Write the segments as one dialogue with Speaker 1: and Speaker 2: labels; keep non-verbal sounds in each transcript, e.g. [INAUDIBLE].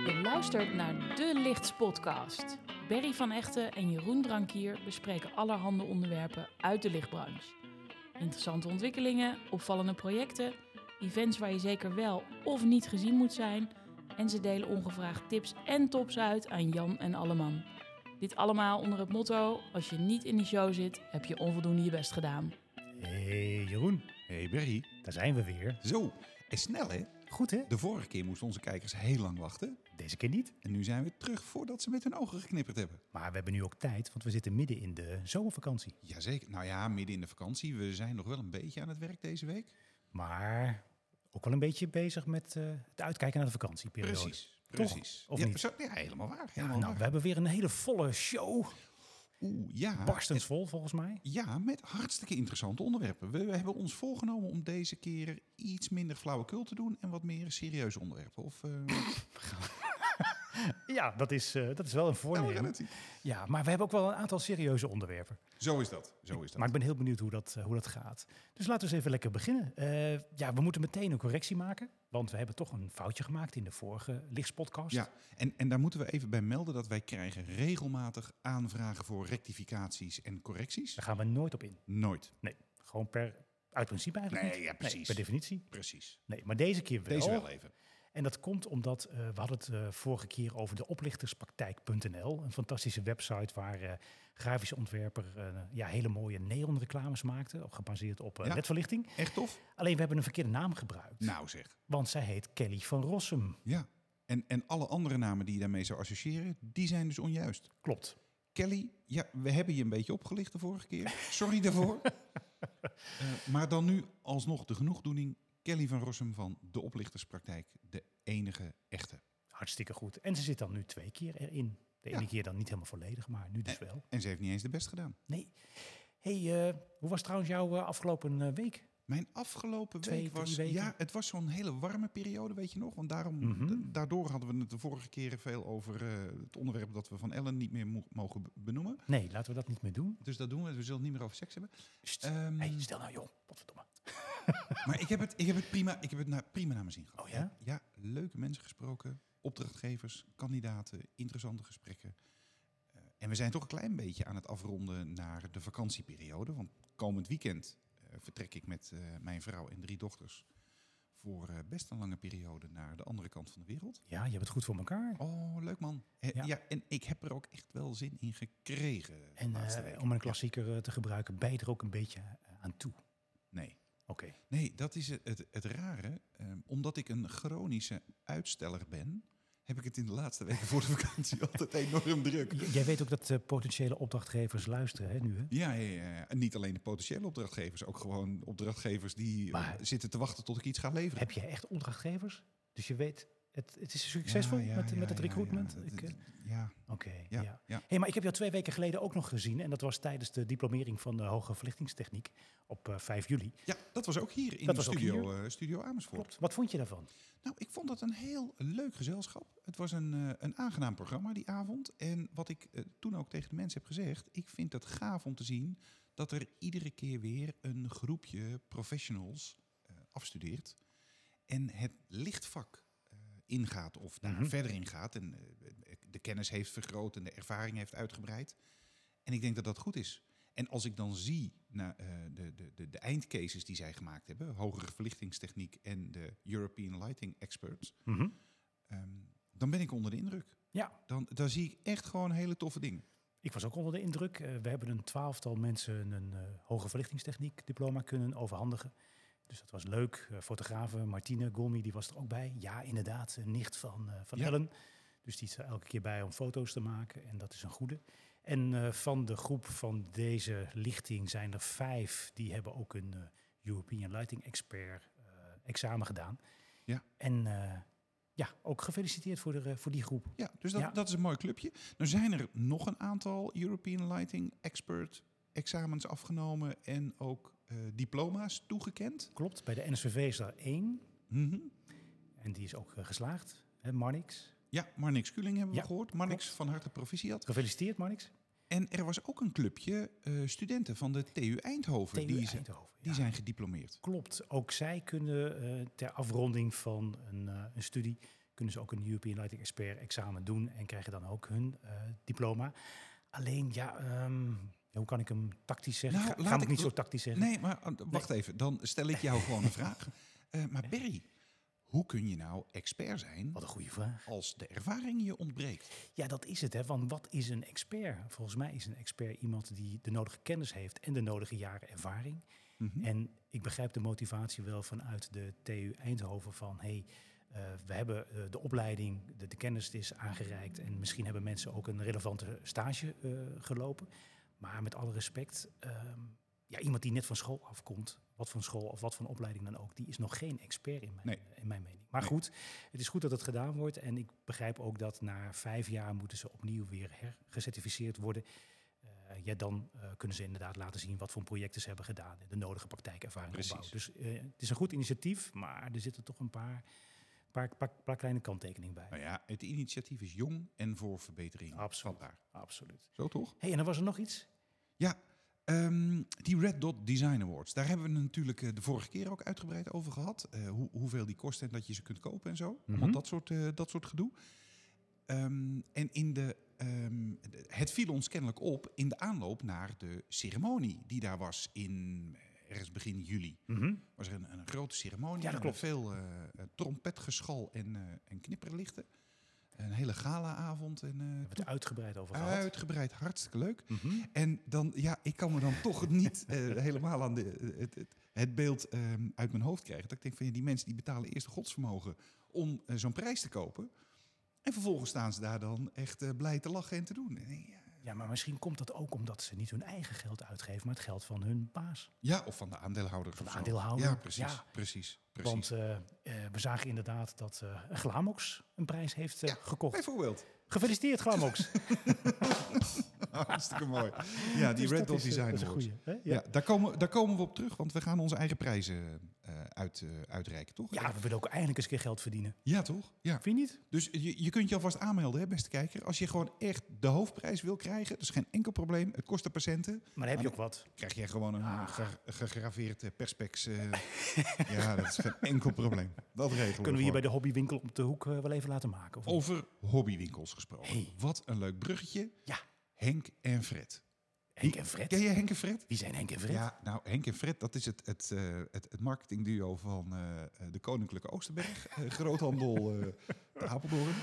Speaker 1: luistert naar De Lichts Podcast. Berry van Echten en Jeroen Drankier bespreken allerhande onderwerpen uit de lichtbranche. Interessante ontwikkelingen, opvallende projecten, events waar je zeker wel of niet gezien moet zijn. En ze delen ongevraagd tips en tops uit aan Jan en Alleman. Dit allemaal onder het motto: als je niet in die show zit, heb je onvoldoende je best gedaan.
Speaker 2: Hey Jeroen,
Speaker 3: Hey Berry.
Speaker 2: daar zijn we weer.
Speaker 3: Zo, en snel hè?
Speaker 2: Goed hè?
Speaker 3: De vorige keer moesten onze kijkers heel lang wachten.
Speaker 2: Deze keer niet.
Speaker 3: En nu zijn we terug voordat ze met hun ogen geknipperd hebben.
Speaker 2: Maar we hebben nu ook tijd, want we zitten midden in de zomervakantie.
Speaker 3: Jazeker. Nou ja, midden in de vakantie. We zijn nog wel een beetje aan het werk deze week.
Speaker 2: Maar ook wel een beetje bezig met eh, het uitkijken naar de vakantieperiode.
Speaker 3: Precies.
Speaker 2: Toch?
Speaker 3: Precies.
Speaker 2: Of
Speaker 3: ja,
Speaker 2: niet?
Speaker 3: zo- ja, helemaal waar. Helemaal
Speaker 2: Nou, we
Speaker 3: waar.
Speaker 2: hebben weer een hele volle show.
Speaker 3: Oeh, ja.
Speaker 2: Barstens vol volgens mij.
Speaker 3: Ja, met hartstikke interessante onderwerpen. We hebben ons voorgenomen om deze keer iets minder flauwekul te doen en wat meer serieuze onderwerpen. Of eh,
Speaker 2: Ja, dat is, eh, dat is wel een
Speaker 3: [LAUGHS]
Speaker 2: voornemen.
Speaker 3: relatie.
Speaker 2: Ja, maar we hebben ook wel een aantal serieuze onderwerpen.
Speaker 3: Zo is dat. Zo is dat.
Speaker 2: Maar ik ben heel benieuwd hoe dat, eh, hoe dat gaat. Dus laten we eens even lekker beginnen. Eh, ja, we moeten meteen een correctie maken. Want we hebben toch een foutje gemaakt in de vorige lichtspodcast.
Speaker 3: Ja, en, en daar moeten we even bij melden dat wij krijgen regelmatig aanvragen voor rectificaties en correcties.
Speaker 2: Daar gaan we nooit op in.
Speaker 3: Nooit.
Speaker 2: Nee, gewoon per uit principe eigenlijk.
Speaker 3: Nee,
Speaker 2: niet.
Speaker 3: ja, precies.
Speaker 2: per definitie.
Speaker 3: Precies.
Speaker 2: Nee, maar deze keer wel.
Speaker 3: Deze wel even.
Speaker 2: En dat komt omdat eh, we hadden het eh, vorige keer over de oplichterspraktijk.nl. Een fantastische website waar eh grafische ontwerper eh, ja, hele mooie neonreclames maakte. Gebaseerd op eh,
Speaker 3: Ja.
Speaker 2: ledverlichting.
Speaker 3: Echt tof?
Speaker 2: Alleen we hebben een verkeerde naam gebruikt.
Speaker 3: Nou zeg.
Speaker 2: Want zij heet Kelly van Rossum.
Speaker 3: Ja. En, en alle andere namen die je daarmee zou associëren, die zijn dus onjuist.
Speaker 2: Klopt.
Speaker 3: Kelly, ja, we hebben je een beetje opgelicht de vorige keer. Sorry daarvoor. Eh, maar dan nu alsnog de genoegdoening. Kelly van Rossum van De Oplichterspraktijk, de enige echte.
Speaker 2: Hartstikke goed. En ze zit dan nu twee keer erin. De ene
Speaker 3: Ja.
Speaker 2: keer dan niet helemaal volledig, maar nu dus wel.
Speaker 3: En ze heeft niet eens de best gedaan.
Speaker 2: Nee. hey, eh, hoe was trouwens jouw eh, afgelopen eh, week?
Speaker 3: Mijn afgelopen
Speaker 2: Twee,
Speaker 3: week
Speaker 2: drie
Speaker 3: was.
Speaker 2: weken.
Speaker 3: Ja, het was zo'n hele warme periode, weet je nog? Want daarom, da- daardoor hadden we het de vorige keren veel over eh, het onderwerp dat we van Ellen niet meer mo- mogen be- benoemen.
Speaker 2: Nee, laten we dat niet meer doen.
Speaker 3: Dus dat doen we. We zullen het niet meer over seks hebben.
Speaker 2: Sst.
Speaker 3: Ehm,
Speaker 2: hey, stel nou joh, potverdomme.
Speaker 3: Maar ik heb het, ik heb het prima, ik heb het na, prima naar mijn zin gehad.
Speaker 2: Oh ja?
Speaker 3: Ja, leuke mensen gesproken, opdrachtgevers, kandidaten, interessante gesprekken. Eh, en we zijn toch een klein beetje aan het afronden naar de vakantieperiode. Want komend weekend eh, vertrek ik met eh, mijn vrouw en drie dochters voor eh, best een lange periode naar de andere kant van de wereld.
Speaker 2: Ja, je hebt het goed voor elkaar.
Speaker 3: Oh, leuk man. Eh,
Speaker 2: Ja.
Speaker 3: ja. en ik heb er ook echt wel zin in gekregen de
Speaker 2: En
Speaker 3: laatste
Speaker 2: eh,
Speaker 3: week.
Speaker 2: om een klassieker eh, te gebruiken, bij je er ook een beetje eh, aan toe. Oké.
Speaker 3: Nee. Nee, dat is het, het, het rare. Ehm, omdat ik een chronische uitsteller ben, heb ik het in de laatste weken voor de vakantie [LAUGHS] altijd enorm druk.
Speaker 2: J- Jij weet ook dat eh, potentiële opdrachtgevers luisteren hè, nu, hè?
Speaker 3: Ja, ja, ja, ja. En niet alleen de potentiële opdrachtgevers, ook gewoon opdrachtgevers die eh,
Speaker 2: Maar-
Speaker 3: zitten te wachten tot ik iets ga leveren.
Speaker 2: Heb je echt opdrachtgevers? Dus je weet, het, het is succesvol
Speaker 3: Ja, ja,
Speaker 2: met,
Speaker 3: ja,
Speaker 2: met het
Speaker 3: ja,
Speaker 2: recruitment?
Speaker 3: Ja,
Speaker 2: Ik, eh,
Speaker 3: Dat- ja.
Speaker 2: Oké, ja.
Speaker 3: Ja, ja.
Speaker 2: Hey, maar ik heb jou twee weken geleden ook nog gezien. En dat was tijdens de diplomering van de Hoge Verlichtingstechniek op eh, 5 juli.
Speaker 3: Ja, dat was ook hier in
Speaker 2: Dat
Speaker 3: de
Speaker 2: was ook
Speaker 3: studio, eh, studio Amersfoort.
Speaker 2: Klopt. Wat vond je daarvan?
Speaker 3: Nou, ik vond dat een heel leuk gezelschap. Het was een, eh, een aangenaam programma die avond. En wat ik eh, toen ook tegen de mensen heb gezegd, ik vind het gaaf om te zien dat er iedere keer weer een groepje professionals eh, afstudeert en het lichtvak eh, ingaat of daar verder in gaat en eh, de kennis heeft vergroot en de ervaring heeft uitgebreid. En ik denk dat dat goed is. En als ik dan zie na, eh, de, de, de, de eindcases die zij gemaakt hebben, hogere verlichtingstechniek en de European Lighting Experts,
Speaker 2: Mhm.
Speaker 3: ehm, dan ben ik onder de indruk.
Speaker 2: Ja,
Speaker 3: Dan, dan zie ik echt gewoon hele toffe dingen.
Speaker 2: ik was ook onder de indruk. Eh, we hebben een twaalftal mensen een eh, Hoge Verlichtingstechniek diploma kunnen overhandigen. Dus dat was leuk. Eh fotografen Martine Golmi, die was er ook bij. Ja, inderdaad, een nicht van, eh, van
Speaker 3: Ja.
Speaker 2: Ellen. Dus die is er elke keer bij om foto's te maken. En dat is een goede. En eh, van de groep van deze lichting zijn er vijf... die hebben ook een eh, European Lighting Expert eh, examen gedaan.
Speaker 3: Ja.
Speaker 2: En eh, ja, ook gefeliciteerd voor, de, eh, voor die groep.
Speaker 3: Ja, dus dat,
Speaker 2: Ja.
Speaker 3: dat is een mooi clubje. Nou zijn er nog een aantal European Lighting Expert examens afgenomen en ook eh, diploma's toegekend.
Speaker 2: Klopt, bij de NSVV is daar één...
Speaker 3: Mhm.
Speaker 2: En die is ook eh, geslaagd, hè, Marnix.
Speaker 3: Ja, Marnix Kuling hebben we
Speaker 2: Ja,
Speaker 3: gehoord. Marnix van harte proficiat.
Speaker 2: Gefeliciteerd, Marnix.
Speaker 3: En er was ook een clubje eh, studenten van de TU Eindhoven.
Speaker 2: TU
Speaker 3: die, ze-
Speaker 2: Eindhoven,
Speaker 3: die
Speaker 2: ja.
Speaker 3: zijn gediplomeerd.
Speaker 2: Klopt, ook zij kunnen eh, ter afronding van een, eh, een studie... kunnen ze ook een European Lighting Expert examen doen en krijgen dan ook hun eh, diploma. Alleen ja, ehm, ja, hoe kan ik hem tactisch zeggen?
Speaker 3: Nou,
Speaker 2: Ga- ga
Speaker 3: laat
Speaker 2: hem
Speaker 3: ik-
Speaker 2: niet zo tactisch zeggen.
Speaker 3: Nee, maar eh, wacht even. Dan stel ik jou gewoon een
Speaker 2: [LAUGHS]
Speaker 3: vraag. Eh, maar Berry, hoe kun je nou expert zijn
Speaker 2: Wat een goede vraag.
Speaker 3: als de ervaring je ontbreekt?
Speaker 2: Ja, dat is het. Hè. Want wat is een expert? Volgens mij is een expert iemand die de nodige kennis heeft en de nodige jaren ervaring.
Speaker 3: Mhm.
Speaker 2: En ik begrijp de motivatie wel vanuit de TU Eindhoven van hey, eh, we hebben eh, de opleiding, de, de kennis is aangereikt en misschien hebben mensen ook een relevante stage eh, gelopen. Maar met alle respect, ehm, ja, iemand die net van school afkomt, wat van school of wat van opleiding dan ook, die is nog geen expert in mijn,
Speaker 3: Nee.
Speaker 2: eh, in mijn mening. Maar
Speaker 3: Nee.
Speaker 2: goed, het is goed dat het gedaan wordt en ik begrijp ook dat na vijf jaar moeten ze opnieuw weer hergecertificeerd worden. Eh, ja, dan eh, kunnen ze inderdaad laten zien wat voor projecten ze hebben gedaan en de nodige praktijkervaring
Speaker 3: Precies.
Speaker 2: opbouwen. Dus eh, het is een goed initiatief, maar er zitten toch een paar, paar, paar, paar kleine kanttekeningen bij.
Speaker 3: Nou ja, het initiatief is jong en voor verbetering.
Speaker 2: Absoluut.
Speaker 3: vatbaar.
Speaker 2: Absoluut.
Speaker 3: Zo toch?
Speaker 2: hey, en dan was er nog iets.
Speaker 3: Ja, ehm, die Red Dot Design Awards. Daar hebben we het natuurlijk eh, de vorige keer ook uitgebreid over gehad. Eh, hoe, hoeveel die kosten en dat je ze kunt kopen en zo.
Speaker 2: Mhm.
Speaker 3: Allemaal dat soort, eh, dat soort gedoe. Ehm, en in de, ehm, de- het viel ons kennelijk op in de aanloop naar de ceremonie die daar was in eh, ergens begin juli.
Speaker 2: Mhm.
Speaker 3: Was er een, een grote ceremonie
Speaker 2: Ja, dat
Speaker 3: met
Speaker 2: klopt.
Speaker 3: veel eh, eh, trompetgeschal en, eh, en knipperlichten. Een hele galaavond en eh,
Speaker 2: We hebben het er uitgebreid over gehad.
Speaker 3: uitgebreid, hartstikke leuk.
Speaker 2: Mhm.
Speaker 3: En dan, ja, ik kan me dan [LAUGHS] toch niet eh, helemaal aan de, eh, het, het, het beeld ehm, uit mijn hoofd krijgen. Dat ik denk van, ja, die mensen die betalen eerst godsvermogen om eh, zo'n prijs te kopen. En vervolgens staan ze daar dan echt eh, blij te lachen en te doen. En ik, ja,
Speaker 2: Ja, maar misschien komt dat ook omdat ze niet hun eigen geld uitgeven, maar het geld van hun baas.
Speaker 3: Ja, of van de aandeelhouder.
Speaker 2: Van de aandeelhouder,
Speaker 3: Ja, precies,
Speaker 2: ja.
Speaker 3: precies, precies.
Speaker 2: Want eh, eh, we zagen inderdaad dat eh, Glamox een prijs heeft eh,
Speaker 3: Ja,
Speaker 2: gekocht. [LAUGHS]
Speaker 3: Bijvoorbeeld.
Speaker 2: Gefeliciteerd, Glamox.
Speaker 3: Hartstikke mooi. Ja, die
Speaker 2: [LAUGHS] Dus
Speaker 3: Red
Speaker 2: dat
Speaker 3: Dot
Speaker 2: is, eh,
Speaker 3: Design
Speaker 2: dat is een
Speaker 3: Awards.
Speaker 2: goeie, hè? Ja.
Speaker 3: Ja, daar, komen, daar komen we op terug, want we gaan onze eigen prijzen eh, uit, eh, uitreiken, toch?
Speaker 2: ja, we willen ook eindelijk eens een keer geld verdienen.
Speaker 3: Ja, toch? Ja.
Speaker 2: Vind je niet?
Speaker 3: Dus je, je kunt je alvast aanmelden, hè, beste kijker. Als je gewoon echt de hoofdprijs wil krijgen, dat is geen enkel probleem. Het kost de patiënten.
Speaker 2: Maar dan heb je ook wat.
Speaker 3: Krijg jij gewoon een
Speaker 2: Ah.
Speaker 3: ge- gegraveerd eh, perspex. eh. [LAUGHS] ja, dat is geen enkel probleem. Dat regelen
Speaker 2: Kunnen we hier bij
Speaker 3: gewoon.
Speaker 2: de hobbywinkel op de hoek eh, wel even laten maken? Of niet?
Speaker 3: Over hobbywinkels gesproken.
Speaker 2: Hey.
Speaker 3: Wat een leuk bruggetje.
Speaker 2: Ja.
Speaker 3: Henk en Fred.
Speaker 2: Henk en Fred.
Speaker 3: Ken je Henk en Fred?
Speaker 2: Wie zijn Henk en Fred?
Speaker 3: Ja, nou, Henk en Fred, dat is het, het, eh, het, het marketingduo van eh, eh, de Koninklijke Oosterberg. eh, groothandel eh te
Speaker 2: [LAUGHS]
Speaker 3: Apeldoorn.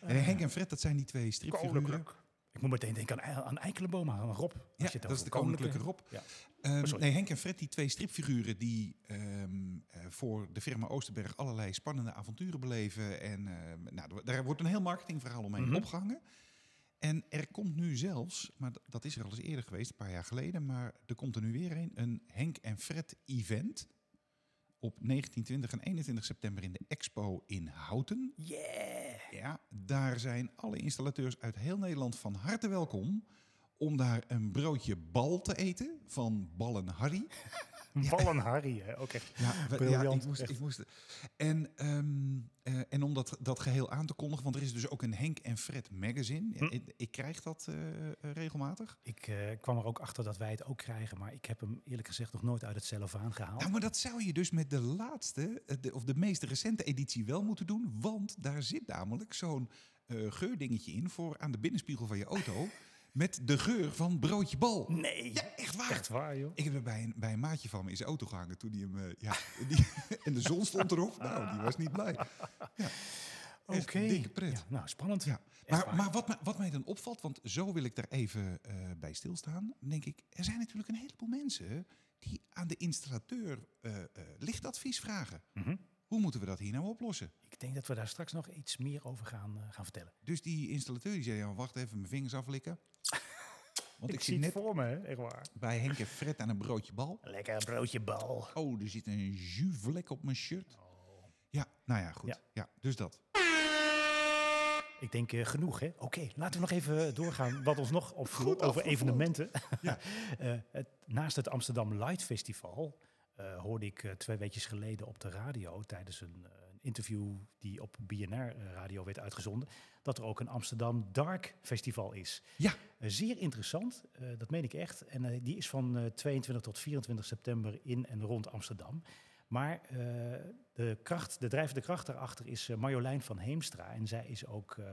Speaker 3: En Henk en Fred, dat zijn die twee stripfiguren.
Speaker 2: Ik moet meteen denken aan, aan Eikelenboom, aan Rob. als je
Speaker 3: Ja,
Speaker 2: het
Speaker 3: dat
Speaker 2: over
Speaker 3: is de koninklijke Rob.
Speaker 2: Ja.
Speaker 3: Ehm,
Speaker 2: sorry.
Speaker 3: nee, Henk en Fred, die twee stripfiguren die ehm, eh, voor de firma Oosterberg allerlei spannende avonturen beleven. En ehm, nou, er- daar wordt een heel marketingverhaal omheen
Speaker 2: Mhm.
Speaker 3: opgehangen. En er komt nu zelfs, maar d- dat is er al eens eerder geweest, een paar jaar geleden, maar er komt er nu weer een, een Henk en Fred event op 19, 20 en 21 september in de Expo in Houten.
Speaker 2: Yeah!
Speaker 3: Ja, daar zijn alle installateurs uit heel Nederland van harte welkom om daar een broodje bal te eten van Ballen Harry.
Speaker 2: Ballen Harry, hè? Ook echt.
Speaker 3: Ja, we- ja
Speaker 2: Briljant,
Speaker 3: ik moest,
Speaker 2: echt.
Speaker 3: ik moest. En, ehm, eh, en om dat, dat geheel aan te kondigen, want er is dus ook een Henk en Fred magazine. Ja,
Speaker 2: Hm.
Speaker 3: ik, ik krijg dat eh, eh, regelmatig.
Speaker 2: Ik eh, kwam er ook achter dat wij het ook krijgen, maar ik heb hem eerlijk gezegd nog nooit uit het cellofaan gehaald.
Speaker 3: Nou, maar dat zou je dus met de laatste, eh, de, of de meest recente editie wel moeten doen, want daar zit namelijk zo'n eh, geurdingetje in voor aan de binnenspiegel van je auto. Met de geur van broodje bal.
Speaker 2: nee!
Speaker 3: Nou, Ja, echt waar.
Speaker 2: Echt waar, joh.
Speaker 3: Ik heb er bij een, bij een maatje van me in zijn auto gehangen toen hij hem... eh, ja, die, [LAUGHS] en de zon stond erop. Nou, die was niet blij.
Speaker 2: Oké.
Speaker 3: Echt dikke pret.
Speaker 2: Ja, nou, spannend.
Speaker 3: Ja.
Speaker 2: Echt
Speaker 3: Maar,
Speaker 2: waar.
Speaker 3: maar wat, mij- wat mij dan opvalt, want zo wil ik daar even eh, bij stilstaan. dan denk ik, er zijn natuurlijk een heleboel mensen die aan de installateur eh, eh, lichtadvies vragen.
Speaker 2: Mhm.
Speaker 3: Hoe moeten we dat hier nou oplossen?
Speaker 2: Ik denk dat we daar straks nog iets meer over gaan, eh, gaan vertellen.
Speaker 3: Dus die installateur die zei, ja, wacht even, mijn vingers
Speaker 2: [LAUGHS]
Speaker 3: aflikken. Want ik, zie net
Speaker 2: voor me, hè? Echt waar.
Speaker 3: bij Henk en Fred aan een broodje bal.
Speaker 2: Lekker broodje bal.
Speaker 3: Oh, er zit een juvlek op mijn shirt. Ja, nou ja, goed.
Speaker 2: Oh. Ja.
Speaker 3: ja dus dat.
Speaker 2: Ik denk eh, genoeg, hè? Oké, laten we nog even eh, doorgaan wat ons nog opviel
Speaker 3: Goed
Speaker 2: over
Speaker 3: afgevlogen.
Speaker 2: evenementen.
Speaker 3: Ja.
Speaker 2: [LAUGHS] Eh, het, naast het Amsterdam Light Festival eh, hoorde ik eh, twee weekjes geleden op de radio tijdens een, eh, een interview die op BNR eh, Radio werd uitgezonden, dat er ook een Amsterdam Dark Festival is.
Speaker 3: Ja.
Speaker 2: Eh, zeer interessant, eh, dat meen ik echt. En eh, die is van eh, 22 tot 24 september in en rond Amsterdam. Maar eh, de, kracht, de drijvende kracht daarachter is eh, Marjolein van Heemstra. En zij is ook eh,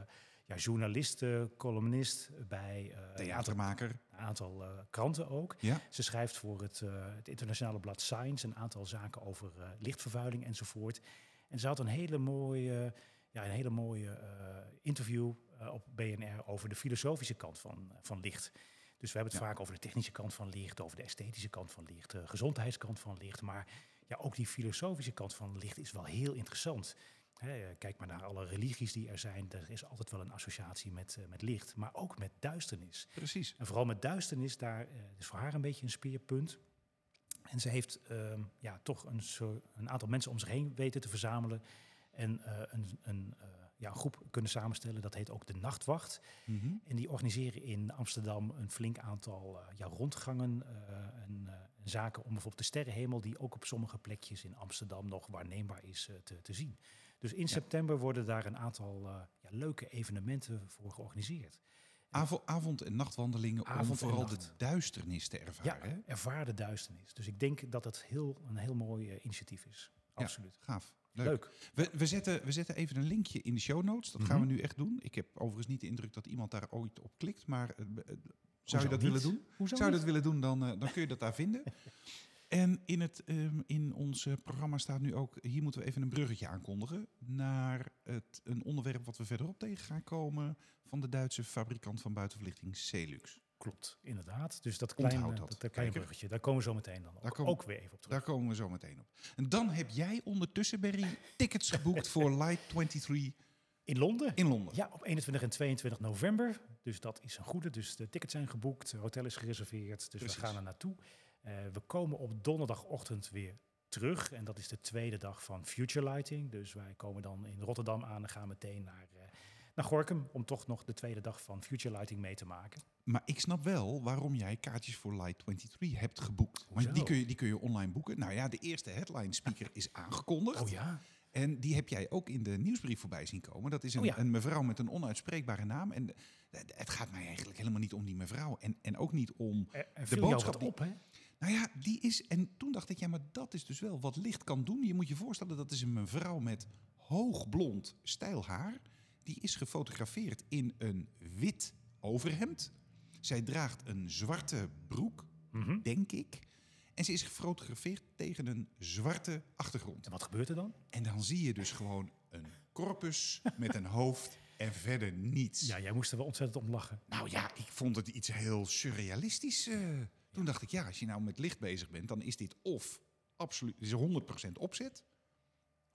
Speaker 2: ja, journalist, eh, columnist bij eh,
Speaker 3: Theatermaker.
Speaker 2: een aantal eh, kranten ook.
Speaker 3: Ja.
Speaker 2: Ze schrijft voor het, eh, het internationale blad Science een aantal zaken over eh, lichtvervuiling enzovoort. En ze had een hele mooie, ja, een hele mooie eh, interview eh, op BNR over de filosofische kant van, eh, van licht. Dus we hebben het
Speaker 3: Ja.
Speaker 2: vaak over de technische kant van licht, over de esthetische kant van licht, de gezondheidskant van licht. Maar ja, ook die filosofische kant van licht is wel heel interessant. Hè, eh, kijk maar naar alle religies die er zijn. Er is altijd wel een associatie met, eh, met licht, maar ook met duisternis.
Speaker 3: Precies.
Speaker 2: En vooral met duisternis, daar eh, is voor haar een beetje een speerpunt. En ze heeft ehm, ja, toch een, soort- een aantal mensen om zich heen weten te verzamelen. En eh, een, een eh, ja, een groep kunnen samenstellen, dat heet ook de Nachtwacht.
Speaker 3: Mhm.
Speaker 2: En die organiseren in Amsterdam een flink aantal eh, ja, rondgangen eh, en eh, en zaken om bijvoorbeeld de sterrenhemel, die ook op sommige plekjes in Amsterdam nog waarneembaar is, eh, te, te zien. Dus in september worden daar een aantal eh, ja, leuke evenementen voor georganiseerd.
Speaker 3: Avo- avond- en nachtwandelingen
Speaker 2: Avond
Speaker 3: om
Speaker 2: en
Speaker 3: vooral de
Speaker 2: nacht.
Speaker 3: duisternis te
Speaker 2: Ja,
Speaker 3: ervaren. hè?
Speaker 2: ervaar de duisternis. Dus ik denk dat dat heel, een heel mooi eh, initiatief is. Absoluut.
Speaker 3: Gaaf.
Speaker 2: Leuk.
Speaker 3: Leuk. We, we, zetten, we zetten even een linkje in de show notes. Dat gaan we
Speaker 2: Mhm.
Speaker 3: nu echt doen. Ik heb overigens niet de indruk dat iemand daar ooit op klikt. Maar eh, eh, zou je dat
Speaker 2: niet?
Speaker 3: willen doen?
Speaker 2: Hoezo
Speaker 3: zou je
Speaker 2: niet?
Speaker 3: dat willen doen, dan, eh, dan kun je dat daar
Speaker 2: [LAUGHS]
Speaker 3: vinden. En in, het, ehm, in ons eh, programma staat nu ook... Hier moeten we even een bruggetje aankondigen. Naar het, een onderwerp wat we verderop tegen gaan komen... van de Duitse fabrikant van buitenverlichting Celux.
Speaker 2: Klopt, inderdaad. Dus dat
Speaker 3: Onthoud
Speaker 2: kleine, dat.
Speaker 3: dat,
Speaker 2: kleine
Speaker 3: kijker.
Speaker 2: bruggetje, daar komen we zo meteen dan
Speaker 3: Daar
Speaker 2: ook,
Speaker 3: komen-
Speaker 2: ook weer even op terug.
Speaker 3: Daar komen we zo meteen op. En dan heb jij ondertussen, Berry, tickets geboekt voor
Speaker 2: [LAUGHS]
Speaker 3: Light 23
Speaker 2: In Londen?
Speaker 3: in Londen.
Speaker 2: Ja, op 21 en 22 november. Dus dat is een goede. Dus de tickets zijn geboekt, het hotel is gereserveerd. Dus
Speaker 3: Precies.
Speaker 2: we gaan er naartoe. Eh, we komen op donderdagochtend weer terug. En dat is de tweede dag van Future Lighting. Dus wij komen dan in Rotterdam aan en gaan meteen naar, eh, naar Gorkum. Om toch nog de tweede dag van Future Lighting mee te maken.
Speaker 3: Maar ik snap wel waarom jij kaartjes voor Light 23 hebt geboekt.
Speaker 2: Hoezo?
Speaker 3: Want die kun, je, die kun je online boeken. Nou ja, de eerste headline speaker is aangekondigd.
Speaker 2: Oh ja?
Speaker 3: En die heb jij ook in de nieuwsbrief voorbij zien komen. Dat is een,
Speaker 2: Oh ja.
Speaker 3: een mevrouw met een onuitspreekbare naam. En de- de- het gaat mij eigenlijk helemaal niet om die mevrouw. En, en ook niet om...
Speaker 2: Er, er
Speaker 3: De
Speaker 2: viel jou
Speaker 3: boodschap
Speaker 2: wat
Speaker 3: die-
Speaker 2: op, hè?
Speaker 3: Nou ja, die is... En toen dacht ik, ja, maar dat is dus wel wat licht kan doen. Je moet je voorstellen, dat is een mevrouw met hoog blond, stijl haar. Die is gefotografeerd in een wit overhemd. Zij draagt een zwarte broek,
Speaker 2: Mhm.
Speaker 3: denk ik. En ze is gefotografeerd tegen een zwarte achtergrond.
Speaker 2: En wat gebeurt er dan?
Speaker 3: En dan zie je dus gewoon een corpus met een hoofd en verder niets.
Speaker 2: Ja, jij moest er wel ontzettend om lachen.
Speaker 3: Nou ja, ik vond het iets heel surrealistisch. eh. Toen dacht ik, ja, als je nou met licht bezig bent, dan is dit of absoluut dit is 100% opzet.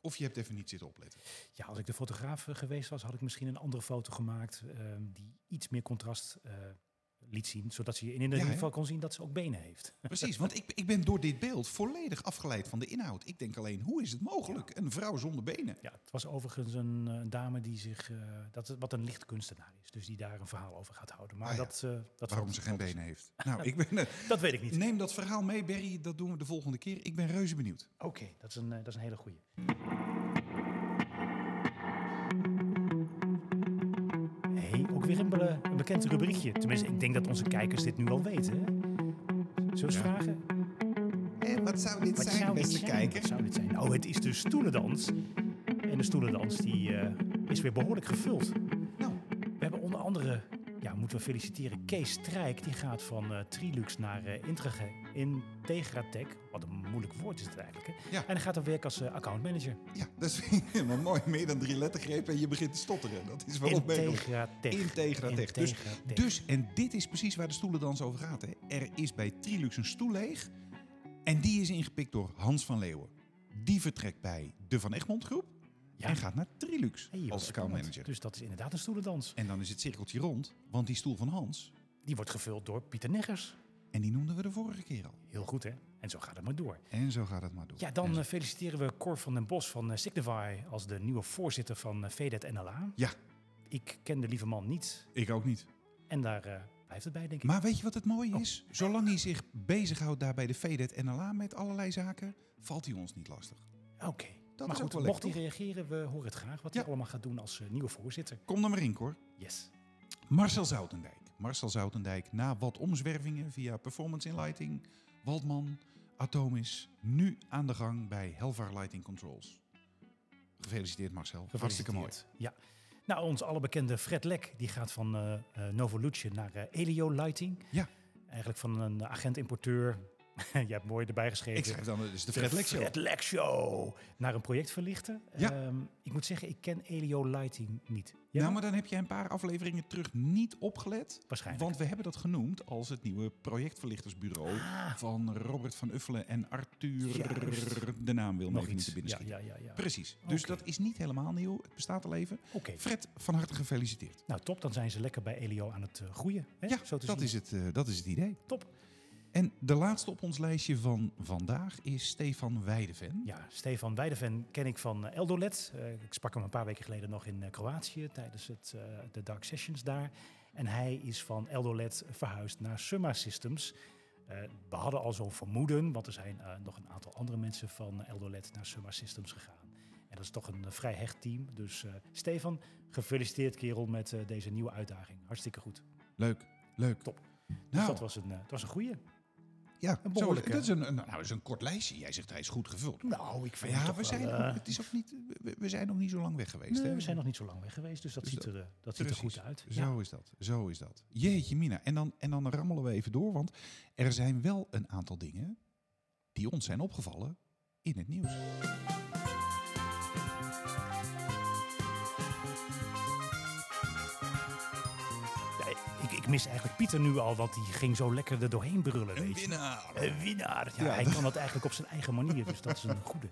Speaker 3: Of je hebt even niet
Speaker 2: [LAUGHS]
Speaker 3: zitten opletten.
Speaker 2: Ja, als ik de fotograaf eh, geweest was, had ik misschien een andere foto gemaakt ehm, die iets meer contrast eh, liet zien. Zodat ze in ieder
Speaker 3: Ja, hè?
Speaker 2: geval kon zien dat ze ook benen [LAUGHS] heeft.
Speaker 3: Precies, want ik, ik ben door dit beeld volledig afgeleid van de inhoud. Ik denk alleen, hoe is het mogelijk? Een vrouw zonder benen.
Speaker 2: Ja, het was overigens een eh, dame die zich, eh, dat, wat een lichtkunstenaar is. Dus die daar een verhaal over gaat houden. Maar
Speaker 3: Ah, ja.
Speaker 2: dat, eh, dat...
Speaker 3: Waarom ze geen benen heeft.
Speaker 2: [LAUGHS]
Speaker 3: Nou, ik ben, eh,
Speaker 2: Dat weet ik niet.
Speaker 3: neem dat verhaal mee, Berry. Dat doen we de volgende keer. Ik ben reuze benieuwd.
Speaker 2: Oké, dat, is een, eh, dat is een hele goeie. hey, ook weer een, be- een bekend rubriekje. Tenminste, ik denk dat onze kijkers dit nu al weten. Hè? Zullen we eens
Speaker 3: Ja.
Speaker 2: vragen?
Speaker 3: Hé, Eh, wat zou dit
Speaker 2: Wat
Speaker 3: zijn,
Speaker 2: zou dit
Speaker 3: beste
Speaker 2: zijn?
Speaker 3: kijker?
Speaker 2: Wat zou dit zijn? Oh, het is de stoelendans. En de stoelendans die, eh, is weer behoorlijk gevuld.
Speaker 3: Nou,
Speaker 2: We hebben onder andere, ja, moeten we feliciteren, Kees Strijk. Die gaat van eh, Trilux naar eh Intrage- Integratech. Wat een moeilijk woord is het eigenlijk. Hè?
Speaker 3: Ja.
Speaker 2: En hij gaat dan werken als eh, accountmanager.
Speaker 3: ja, dat is [LAUGHS] helemaal mooi. Meer dan drie lettergrepen en je begint te stotteren. Dat is wel opmerkelijk.
Speaker 2: Integratech.
Speaker 3: Integratech. Dus,
Speaker 2: Integratech.
Speaker 3: dus, en dit is precies waar de stoelendans over gaat. Hè. Er is bij Trilux een stoel leeg. En die is ingepikt door Hans van Leeuwen. Die vertrekt bij de Van Egmond Groep.
Speaker 2: Ja.
Speaker 3: En gaat naar Trilux
Speaker 2: Hey, wat
Speaker 3: als
Speaker 2: spannend.
Speaker 3: accountmanager.
Speaker 2: Dus dat is inderdaad een stoelendans.
Speaker 3: En dan is het cirkeltje rond, want die stoel van Hans...
Speaker 2: Die wordt gevuld door Pieter Neggers.
Speaker 3: en die noemden we de vorige keer al.
Speaker 2: Heel goed, hè? En zo gaat het maar door.
Speaker 3: En zo gaat het maar door.
Speaker 2: Ja, dan
Speaker 3: En zo-
Speaker 2: eh, feliciteren we Cor van den Bos van eh, Signify als de nieuwe voorzitter van eh, VDET NLA.
Speaker 3: Ja.
Speaker 2: Ik ken de lieve man niet
Speaker 3: Ik ook niet.
Speaker 2: en daar eh, blijft het bij, denk ik.
Speaker 3: Maar weet je wat het
Speaker 2: Oh.
Speaker 3: mooie is? Zolang hij zich bezighoudt daar bij de VDET en NLA met allerlei zaken, valt hij ons niet lastig.
Speaker 2: Oké.
Speaker 3: Dat
Speaker 2: Maar
Speaker 3: is ook
Speaker 2: goed,
Speaker 3: wel
Speaker 2: mocht hij
Speaker 3: lekker,
Speaker 2: reageren, we horen het graag wat
Speaker 3: Ja.
Speaker 2: hij allemaal gaat doen als eh, nieuwe voorzitter.
Speaker 3: Kom dan maar in, hoor.
Speaker 2: Yes.
Speaker 3: Marcel Zoutendijk. Marcel Zoutendijk, na wat omzwervingen via Performance in Lighting, Waldman, Atoom is nu aan de gang bij Helvar Lighting Controls. Gefeliciteerd Marcel, hartstikke mooi.
Speaker 2: Gefeliciteerd. Ja. Nou, ons allerbekende Fred Lek, die gaat van eh eh, Novolution naar eh, Elio Lighting.
Speaker 3: Ja.
Speaker 2: Eigenlijk van een agent-importeur. [LAUGHS] Je hebt mooi erbij geschreven.
Speaker 3: Ik schrijf dan, het is de Fred Lek Show.
Speaker 2: Fred Lek Show. Naar een project verlichten.
Speaker 3: Ja.
Speaker 2: Ehm, ik moet zeggen, ik ken Elio Lighting niet. Ja,
Speaker 3: Nou, maar dan heb je een paar afleveringen terug niet opgelet.
Speaker 2: waarschijnlijk.
Speaker 3: Want we hebben dat genoemd als het nieuwe projectverlichtersbureau
Speaker 2: Ah.
Speaker 3: van Robert van Uffelen en Arthur.
Speaker 2: Juist.
Speaker 3: De naam wil me
Speaker 2: nog
Speaker 3: even niet
Speaker 2: iets.
Speaker 3: te binnen
Speaker 2: ja,
Speaker 3: schieten.
Speaker 2: ja, ja, ja.
Speaker 3: Precies. Dus
Speaker 2: Oké.
Speaker 3: dat is niet helemaal nieuw. Het bestaat al even.
Speaker 2: Oké.
Speaker 3: Fred, van harte gefeliciteerd.
Speaker 2: Nou, top. Dan zijn ze lekker bij Elio aan het eh, groeien. Hè?
Speaker 3: Ja,
Speaker 2: Zo te
Speaker 3: dat
Speaker 2: zien.
Speaker 3: is, het, eh, dat is het idee.
Speaker 2: Top.
Speaker 3: En de laatste op ons lijstje van vandaag is Stefan Weideven.
Speaker 2: Ja, Stefan Weideven ken ik van eh, Eldolet. Eh, ik sprak hem een paar weken geleden nog in eh, Kroatië tijdens het, eh, de Dark Sessions daar. En hij is van Eldolet verhuisd naar Summa Systems. Eh, we hadden al zo'n vermoeden, want er zijn eh, nog een aantal andere mensen van Eldolet naar Summa Systems gegaan. En dat is toch een eh, vrij hecht team. Dus eh, Stefan, gefeliciteerd kerel met eh, deze nieuwe uitdaging. Hartstikke goed.
Speaker 3: Leuk, leuk.
Speaker 2: Top. Dus
Speaker 3: Nou,
Speaker 2: dat was een, eh, het was een goeie.
Speaker 3: ja,
Speaker 2: een
Speaker 3: zo,
Speaker 2: behoorlijke.
Speaker 3: dat is een, een- nou, dat is een kort lijstje. Jij zegt hij is goed gevuld.
Speaker 2: Nou, ik
Speaker 3: Maar
Speaker 2: vind
Speaker 3: ja,
Speaker 2: toch
Speaker 3: we
Speaker 2: wel,
Speaker 3: zijn,
Speaker 2: eh,
Speaker 3: het is ook niet, we, we zijn nog niet zo lang weg geweest.
Speaker 2: nee,
Speaker 3: hè?
Speaker 2: we zijn nog niet zo lang weg geweest, dus dat
Speaker 3: Dus
Speaker 2: ziet er, eh, dat ziet er
Speaker 3: precies.
Speaker 2: goed uit. Ja.
Speaker 3: Zo is dat, zo is dat. Jeetje mina. En dan, en dan rammelen we even door, want er zijn wel een aantal dingen die ons zijn opgevallen in het nieuws.
Speaker 2: Ja, ik, ik mis eigenlijk Pieter nu al, want die ging zo lekker er doorheen brullen.
Speaker 3: Een
Speaker 2: Weet je.
Speaker 3: winnaar!
Speaker 2: Een winnaar. Ja,
Speaker 3: Ja,
Speaker 2: hij
Speaker 3: dat-
Speaker 2: kan dat eigenlijk op zijn eigen manier, dus dat is een
Speaker 3: [LAUGHS]
Speaker 2: goede.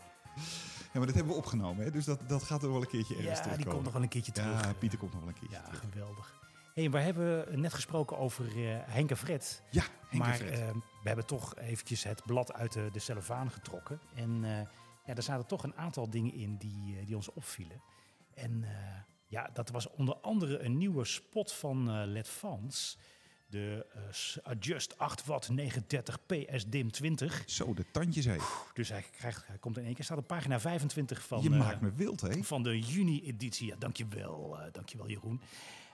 Speaker 3: Ja, maar dat hebben we opgenomen, hè? dus dat, dat gaat er wel een keertje ergens
Speaker 2: Ja, die komt nog wel een keertje terug.
Speaker 3: Ja, Pieter komt nog wel een keertje
Speaker 2: Ja,
Speaker 3: terug.
Speaker 2: geweldig. hey, we hebben net gesproken over eh, Henk en Fred.
Speaker 3: Ja, Henk
Speaker 2: maar
Speaker 3: en Fred.
Speaker 2: eh, we hebben toch eventjes het blad uit de, de cellofaan getrokken. En eh, ja, daar zaten toch een aantal dingen in die, eh, die ons opvielen. En eh, ja, dat was onder andere een nieuwe spot van eh Let Fans. De eh, s- Adjust 8 Watt 39 PS DIM 20.
Speaker 3: Zo, de tandjes heen.
Speaker 2: Dus hij, krijgt, hij komt in één keer, staat op pagina 25 van...
Speaker 3: je
Speaker 2: eh,
Speaker 3: maakt me wild, hè?
Speaker 2: van de juni-editie. Ja, dankjewel, eh dankjewel Jeroen.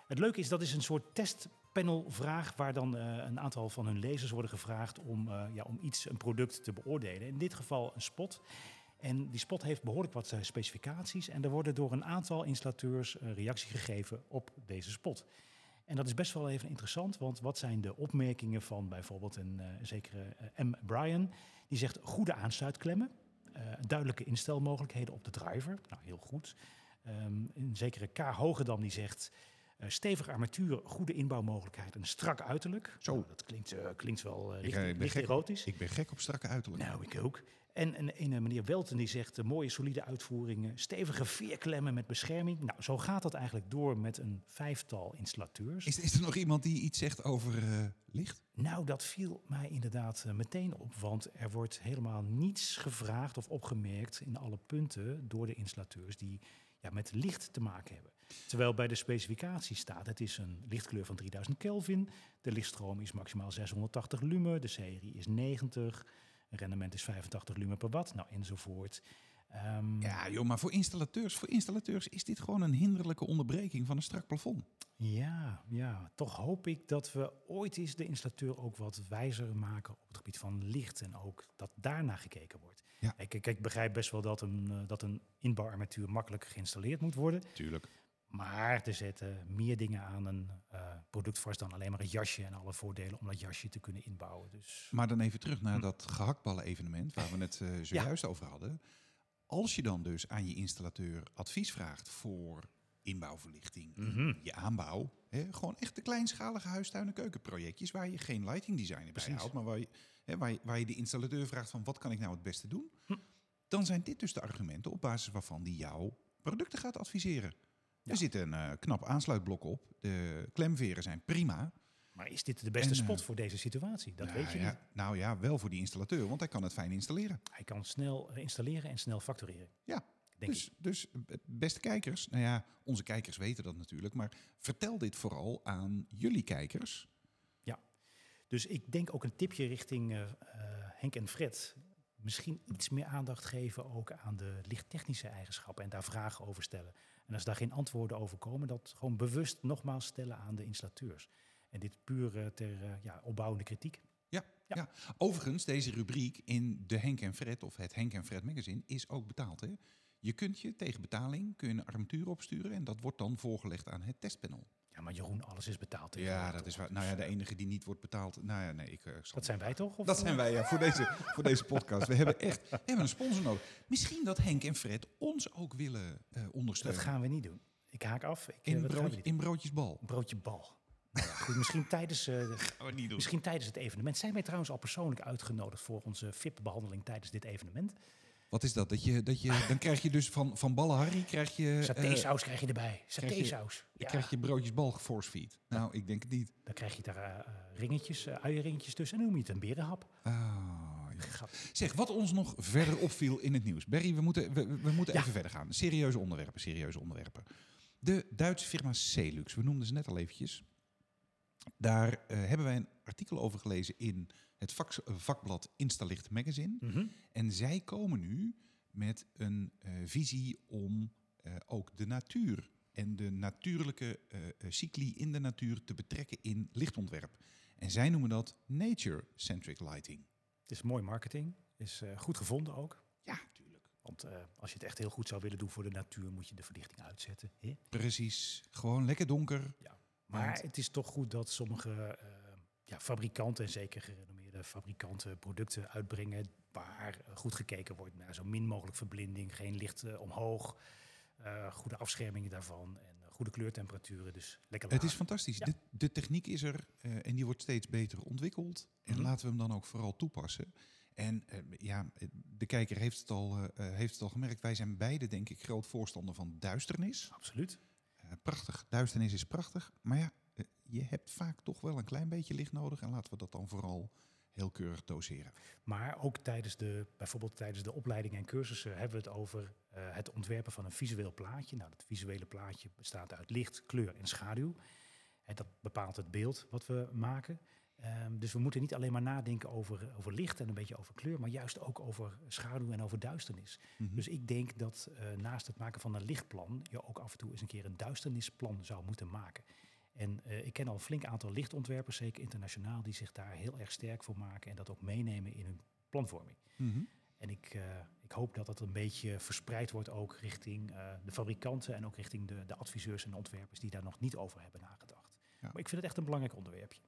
Speaker 2: Het leuke is, dat is een soort testpanelvraag... waar dan eh, een aantal van hun lezers worden gevraagd om, eh, ja, om iets, een product te beoordelen. In dit geval een spot. En die spot heeft behoorlijk wat eh, specificaties. En er worden door een aantal installateurs eh, reactie gegeven op deze spot. En dat is best wel even interessant, want wat zijn de opmerkingen van bijvoorbeeld een eh, zekere eh, M. Bryan? Die zegt goede aansluitklemmen, eh, duidelijke instelmogelijkheden op de driver. Nou, heel goed. Ehm, een zekere K. Hogedam die zegt eh, stevig armatuur, goede inbouwmogelijkheid en strak uiterlijk.
Speaker 3: Zo.
Speaker 2: Nou, dat klinkt, eh, klinkt wel eh, licht,
Speaker 3: eh, ben
Speaker 2: licht
Speaker 3: gek.
Speaker 2: erotisch.
Speaker 3: Ik ben gek op strakke uiterlijk.
Speaker 2: Nou, ik ook. En een ene meneer Welten die zegt eh, mooie solide uitvoeringen, stevige veerklemmen met bescherming. Nou, zo gaat dat eigenlijk door met een vijftal installateurs.
Speaker 3: Is, is er nog iemand die iets zegt over eh, licht?
Speaker 2: Nou, dat viel mij inderdaad eh, meteen op, want er wordt helemaal niets gevraagd of opgemerkt in alle punten door de installateurs die ja, met licht te maken hebben. Terwijl bij de specificatie staat, het is een lichtkleur van 3000 Kelvin, de lichtstroom is maximaal 680 lumen, de serie is 90, het rendement is 85 lumen per watt, nou enzovoort. Ehm,
Speaker 3: Ja, joh, maar voor installateurs, voor installateurs is dit gewoon een hinderlijke onderbreking van een strak plafond.
Speaker 2: Ja, ja, toch hoop ik dat we ooit eens de installateur ook wat wijzer maken op het gebied van licht en ook dat daarna gekeken wordt.
Speaker 3: Ja.
Speaker 2: Ik, ik, ik begrijp best wel dat een, eh, dat een inbouwarmatuur makkelijk geïnstalleerd moet worden,
Speaker 3: Tuurlijk.
Speaker 2: maar er zetten meer dingen aan een eh, product vast dan alleen maar het jasje en alle voordelen om dat jasje te kunnen inbouwen. Dus
Speaker 3: Maar dan even terug naar dat gehaktballen evenement waar we het eh, zojuist over hadden. Als je dan dus aan je installateur advies vraagt voor inbouwverlichting,
Speaker 2: mhm.
Speaker 3: je aanbouw, hè, gewoon echt de kleinschalige huistuin- en keukenprojectjes waar je geen lighting designer bij
Speaker 2: Precies.
Speaker 3: houdt, maar waar je, hè, waar, je, waar je de installateur vraagt van wat kan ik nou het beste doen,
Speaker 2: Hm.
Speaker 3: dan zijn dit dus de argumenten op basis waarvan die jou producten gaat adviseren.
Speaker 2: Ja.
Speaker 3: Er zit een eh, knap aansluitblok op, de klemveren zijn prima,
Speaker 2: maar is dit de beste
Speaker 3: En, eh,
Speaker 2: spot voor deze situatie? Dat
Speaker 3: nou
Speaker 2: weet je
Speaker 3: ja,
Speaker 2: niet.
Speaker 3: Nou ja, wel voor die installateur, want hij kan het fijn installeren.
Speaker 2: Hij kan snel eh, installeren en snel factureren.
Speaker 3: Ja,
Speaker 2: Denk
Speaker 3: dus, dus eh, beste kijkers, nou ja, onze kijkers weten dat natuurlijk, maar vertel dit vooral aan jullie kijkers.
Speaker 2: Dus ik denk ook een tipje richting eh, eh, Henk en Fred. Misschien iets meer aandacht geven ook aan de lichttechnische eigenschappen en daar vragen over stellen. En als daar geen antwoorden over komen, dat gewoon bewust nogmaals stellen aan de installateurs. En dit puur eh, ter eh, ja, opbouwende kritiek.
Speaker 3: Ja,
Speaker 2: Ja.
Speaker 3: Overigens, deze rubriek in de Henk en Fred of het Henk en Fred magazine is ook betaald. Hè? Je kunt je tegen betaling kun je een armatuur opsturen en dat wordt dan voorgelegd aan het testpanel.
Speaker 2: Ja, maar Jeroen, alles is betaald.
Speaker 3: ja,
Speaker 2: tegenwoordig,
Speaker 3: dat is
Speaker 2: toch?
Speaker 3: waar. Nou ja,
Speaker 2: Dus,
Speaker 3: de
Speaker 2: eh,
Speaker 3: enige die niet wordt betaald. Nou ja, nee, ik eh, zal
Speaker 2: Dat zijn wij toch? Of eh,
Speaker 3: dat zijn wij ja, voor, deze, voor deze podcast. We hebben echt we hebben een sponsor nodig. Misschien dat Henk en Fred ons ook willen eh,
Speaker 2: Dat
Speaker 3: ondersteunen.
Speaker 2: gaan we niet doen. Ik haak af. Ik, eh,
Speaker 3: in,
Speaker 2: dat gaan we
Speaker 3: broodje,
Speaker 2: niet
Speaker 3: in broodjesbal.
Speaker 2: doen. broodje bal. Nou ja, goed, misschien, tijdens, eh, de-
Speaker 3: Gaan we niet doen.
Speaker 2: misschien tijdens het evenement. Zijn wij trouwens al persoonlijk uitgenodigd voor onze VIP-behandeling tijdens dit evenement?
Speaker 3: Wat is dat? dat, je, dat je, dan krijg je dus van, van ballen Harry krijg je, eh,
Speaker 2: Satésaus krijg je erbij. Satésaus. Ja,
Speaker 3: krijg je broodjesbal geforcefeed. Nou, ik denk het niet.
Speaker 2: Dan krijg je daar eh, eh, ringetjes, eh uienringetjes tussen. En dan noem je het een berenhap.
Speaker 3: Ah, joh.
Speaker 2: Grap.
Speaker 3: zeg, wat ons nog verder opviel in het nieuws. Barry, we moeten, we, we moeten
Speaker 2: Ja.
Speaker 3: even verder gaan. Serieuze onderwerpen, serieuze onderwerpen. De Duitse firma Celux, we noemden ze net al eventjes. Daar eh, hebben wij een artikel over gelezen in het vak, vakblad Instalicht Magazine.
Speaker 2: Mhm.
Speaker 3: En zij komen nu met een eh, visie om eh, ook de natuur en de natuurlijke eh, eh, cycli in de natuur te betrekken in lichtontwerp. En zij noemen dat nature-centric lighting.
Speaker 2: Het is mooi marketing. Is eh, goed gevonden ook.
Speaker 3: Ja, natuurlijk.
Speaker 2: Want eh, als je het echt heel goed zou willen doen voor de natuur, moet je de verlichting uitzetten. hè?
Speaker 3: Precies. Gewoon lekker donker.
Speaker 2: Maar
Speaker 3: Want-
Speaker 2: het is toch goed dat sommige eh, ja, fabrikanten, en zeker gerenommeerde fabrikanten, producten uitbrengen waar eh, goed gekeken wordt naar zo min mogelijk verblinding, geen licht eh, omhoog, eh, goede afschermingen daarvan en eh, goede kleurtemperaturen. Dus lekker laag.
Speaker 3: Het is fantastisch.
Speaker 2: Ja.
Speaker 3: De, de techniek is er eh, en die wordt steeds beter ontwikkeld. En
Speaker 2: Mhm.
Speaker 3: laten we hem dan ook vooral toepassen. En eh, ja, eh, de kijker heeft het, al, eh, eh, heeft het al gemerkt. Wij zijn beide, denk ik, groot voorstander van duisternis.
Speaker 2: Absoluut.
Speaker 3: Eh, prachtig, duisternis is prachtig. Maar ja, eh, je hebt vaak toch wel een klein beetje licht nodig. En laten we dat dan vooral heel keurig doseren.
Speaker 2: Maar ook tijdens de, bijvoorbeeld tijdens de opleidingen en cursussen hebben we het over eh, het ontwerpen van een visueel plaatje. Nou, dat visuele plaatje bestaat uit licht, kleur en schaduw. En dat bepaalt het beeld wat we maken. Ehm, dus we moeten niet alleen maar nadenken over, over licht en een beetje over kleur, maar juist ook over schaduw en over duisternis.
Speaker 3: Mhm.
Speaker 2: Dus ik denk dat eh, naast het maken van een lichtplan, je ook af en toe eens een keer een duisternisplan zou moeten maken. En eh, ik ken al een flink aantal lichtontwerpers, zeker internationaal, die zich daar heel erg sterk voor maken en dat ook meenemen in hun planvorming.
Speaker 3: Mhm.
Speaker 2: En ik, eh, ik hoop dat dat een beetje verspreid wordt ook richting eh, de fabrikanten en ook richting de, de adviseurs en de ontwerpers die daar nog niet over hebben nagedacht.
Speaker 3: Ja.
Speaker 2: Maar ik vind het echt een belangrijk onderwerpje.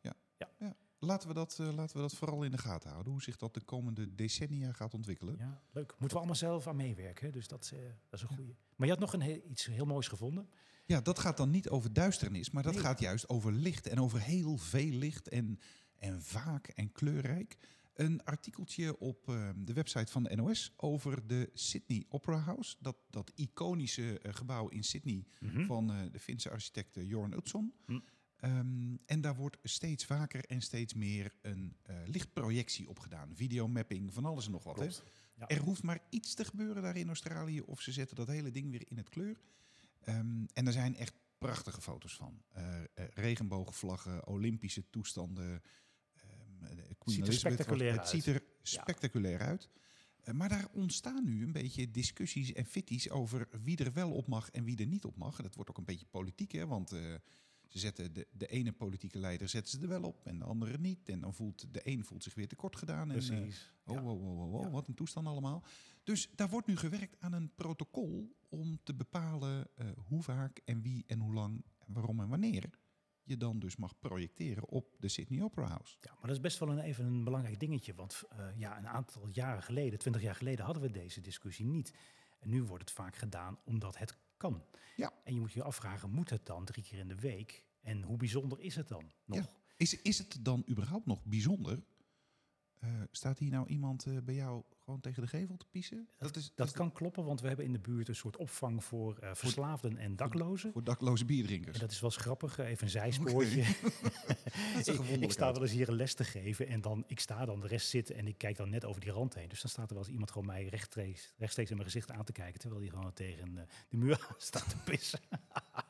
Speaker 3: Laten, we dat, eh, laten we dat vooral in de gaten houden. Hoe zich dat de komende decennia gaat ontwikkelen.
Speaker 2: Ja, leuk. Moeten we allemaal zelf aan meewerken, hè? dus dat, is, eh, dat is een goede. Maar je had nog een heel- iets heel moois gevonden.
Speaker 3: Ja, dat gaat dan niet over duisternis, maar dat
Speaker 2: Nee.
Speaker 3: gaat juist over licht en over heel veel licht en, en vaak en kleurrijk. Een artikeltje op eh, de website van de NOS over de Sydney Opera House. Dat, dat iconische eh, gebouw in Sydney
Speaker 2: Mhm.
Speaker 3: van eh, de Finse architect eh, Joran Utzon.
Speaker 2: Hm.
Speaker 3: Ehm, en daar wordt steeds vaker en steeds meer een eh, lichtprojectie op gedaan. Videomapping, van alles en nog wat. Hè?
Speaker 2: Klopt. Ja.
Speaker 3: Er hoeft maar iets te gebeuren daar in Australië of ze zetten dat hele ding weer in het kleur. Ehm, en er zijn echt prachtige foto's van. Eh, eh, regenboogvlaggen, Olympische toestanden. ehm, eh, Queen
Speaker 2: Ziet er
Speaker 3: Elizabeth,
Speaker 2: spectaculair
Speaker 3: het
Speaker 2: uit.
Speaker 3: ziet er spectaculair uit. Eh, maar daar ontstaan nu een beetje discussies en fitties over wie er wel op mag en wie er niet op mag. Dat wordt ook een beetje politiek, hè? Want eh, ze zetten de, de ene politieke leider zetten ze er wel op en de andere niet. En dan voelt de een voelt zich weer tekort gedaan. En, eh,
Speaker 2: Precies.
Speaker 3: Oh,
Speaker 2: Ja.
Speaker 3: wow, wow, wow, wow,
Speaker 2: Ja.
Speaker 3: wat een toestand allemaal. Dus daar wordt nu gewerkt aan een protocol om te bepalen eh, hoe vaak en wie en hoe lang en waarom en wanneer je dan dus mag projecteren op de Sydney Opera House.
Speaker 2: Ja, maar dat is best wel een, even een belangrijk dingetje. Want eh, ja, een aantal jaren geleden, twintig jaar geleden, hadden we deze discussie niet. En nu wordt het vaak gedaan omdat het kan.
Speaker 3: Ja.
Speaker 2: En je moet je afvragen, moet het dan drie keer in de week? En hoe bijzonder is het dan nog?
Speaker 3: Is, is het dan überhaupt nog bijzonder? Eh, staat hier nou iemand eh, bij jou gewoon tegen de gevel te piezen? Dat, is,
Speaker 2: Dat
Speaker 3: is
Speaker 2: kan kloppen, want we hebben in de buurt een soort opvang voor eh, verslaafden en daklozen.
Speaker 3: voor dakloze
Speaker 2: En
Speaker 3: bierdrinkers.
Speaker 2: dat is wel eens grappig, eh, [LAUGHS] even een zijspoortje.
Speaker 3: is een
Speaker 2: ik, ik sta
Speaker 3: wonderlijkheid.
Speaker 2: wel eens hier een les te geven en dan, ik sta dan de rest zitten en ik kijk dan net over die rand heen. Dus dan staat er wel eens iemand gewoon mij rechtstreeks, rechtstreeks in mijn gezicht aan te kijken, terwijl die gewoon tegen eh, de muur [LAUGHS] aan staat te pissen.
Speaker 3: [LAUGHS]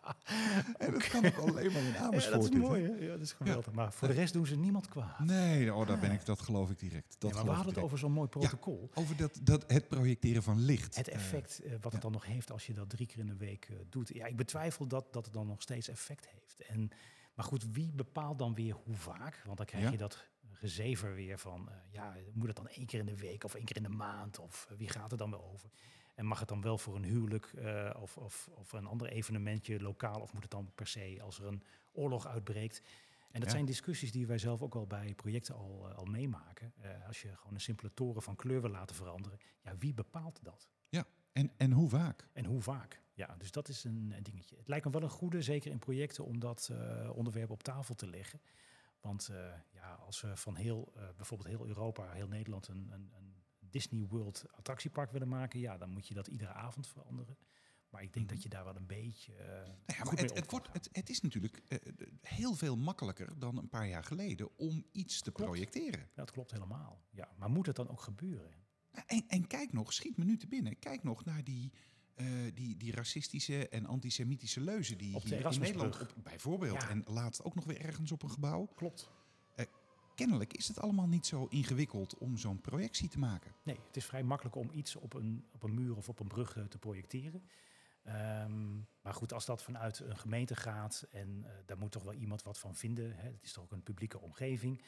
Speaker 3: En dat kan ook alleen maar
Speaker 2: [LAUGHS]
Speaker 3: in
Speaker 2: Ja,
Speaker 3: Amersfoort.
Speaker 2: dat is
Speaker 3: dit, hè?
Speaker 2: mooi, hè? Ja, dat is geweldig. Maar voor de rest doen ze niemand kwaad. Nee,
Speaker 3: Nee, oh, daar ben ik, dat geloof ik direct. Dat
Speaker 2: maar we
Speaker 3: geloof
Speaker 2: hadden
Speaker 3: ik
Speaker 2: het
Speaker 3: direct.
Speaker 2: over zo'n mooi protocol.
Speaker 3: Over dat, dat, het projecteren van licht.
Speaker 2: Het
Speaker 3: Eh,
Speaker 2: effect eh, wat
Speaker 3: ja.
Speaker 2: het dan nog heeft als je dat drie keer in de week eh, doet. Ja, ik betwijfel dat, dat het dan nog steeds effect heeft. En, maar goed, wie bepaalt dan weer hoe vaak? Want dan krijg
Speaker 3: Ja.
Speaker 2: je dat gezever weer van, eh, ja, moet het dan één keer in de week of één keer in de maand of eh, wie gaat er dan wel over? En mag het dan wel voor een huwelijk eh, of, of, of een ander evenementje lokaal of moet het dan per se als er een oorlog uitbreekt? En dat
Speaker 3: Ja.
Speaker 2: zijn discussies die wij zelf ook al bij projecten al, eh, al meemaken. Eh, als je gewoon een simpele toren van kleur wil laten veranderen, ja, wie bepaalt dat?
Speaker 3: En, en hoe vaak?
Speaker 2: En hoe vaak? Ja, dus dat is een, een dingetje. Het lijkt me wel een goede, zeker in projecten, om dat eh, onderwerp op tafel te leggen. Want eh, ja, als we van heel, eh, bijvoorbeeld heel Europa, heel Nederland een, een, een Disney World attractiepark willen maken, ja, dan moet je dat iedere avond veranderen. Maar ik denk dat je daar wel een beetje. eh,
Speaker 3: Mhm. Nou ja,
Speaker 2: goed
Speaker 3: maar
Speaker 2: mee
Speaker 3: het,
Speaker 2: om
Speaker 3: het,
Speaker 2: kan
Speaker 3: wordt,
Speaker 2: gaan.
Speaker 3: het, het is natuurlijk eh, d- heel veel makkelijker dan een paar jaar geleden om iets te
Speaker 2: Klopt.
Speaker 3: projecteren.
Speaker 2: Ja, dat klopt helemaal. Ja, maar moet het dan ook gebeuren?
Speaker 3: Nou, En, en kijk nog, schiet me nu te binnen, kijk nog naar die, eh, die, die racistische en antisemitische leuzen die
Speaker 2: Op de
Speaker 3: hier in
Speaker 2: Erasmusbrug.
Speaker 3: Nederland, op, bijvoorbeeld,
Speaker 2: Ja.
Speaker 3: en laatst ook nog weer ergens op een gebouw.
Speaker 2: Klopt.
Speaker 3: Kennelijk is het allemaal niet zo ingewikkeld om zo'n projectie te maken.
Speaker 2: Nee, het is vrij makkelijk om iets op een, op een muur of op een brug eh, te projecteren. Ehm, maar goed, als dat vanuit een gemeente gaat en eh, daar moet toch wel iemand wat van vinden. Hè? Het is toch ook een publieke omgeving.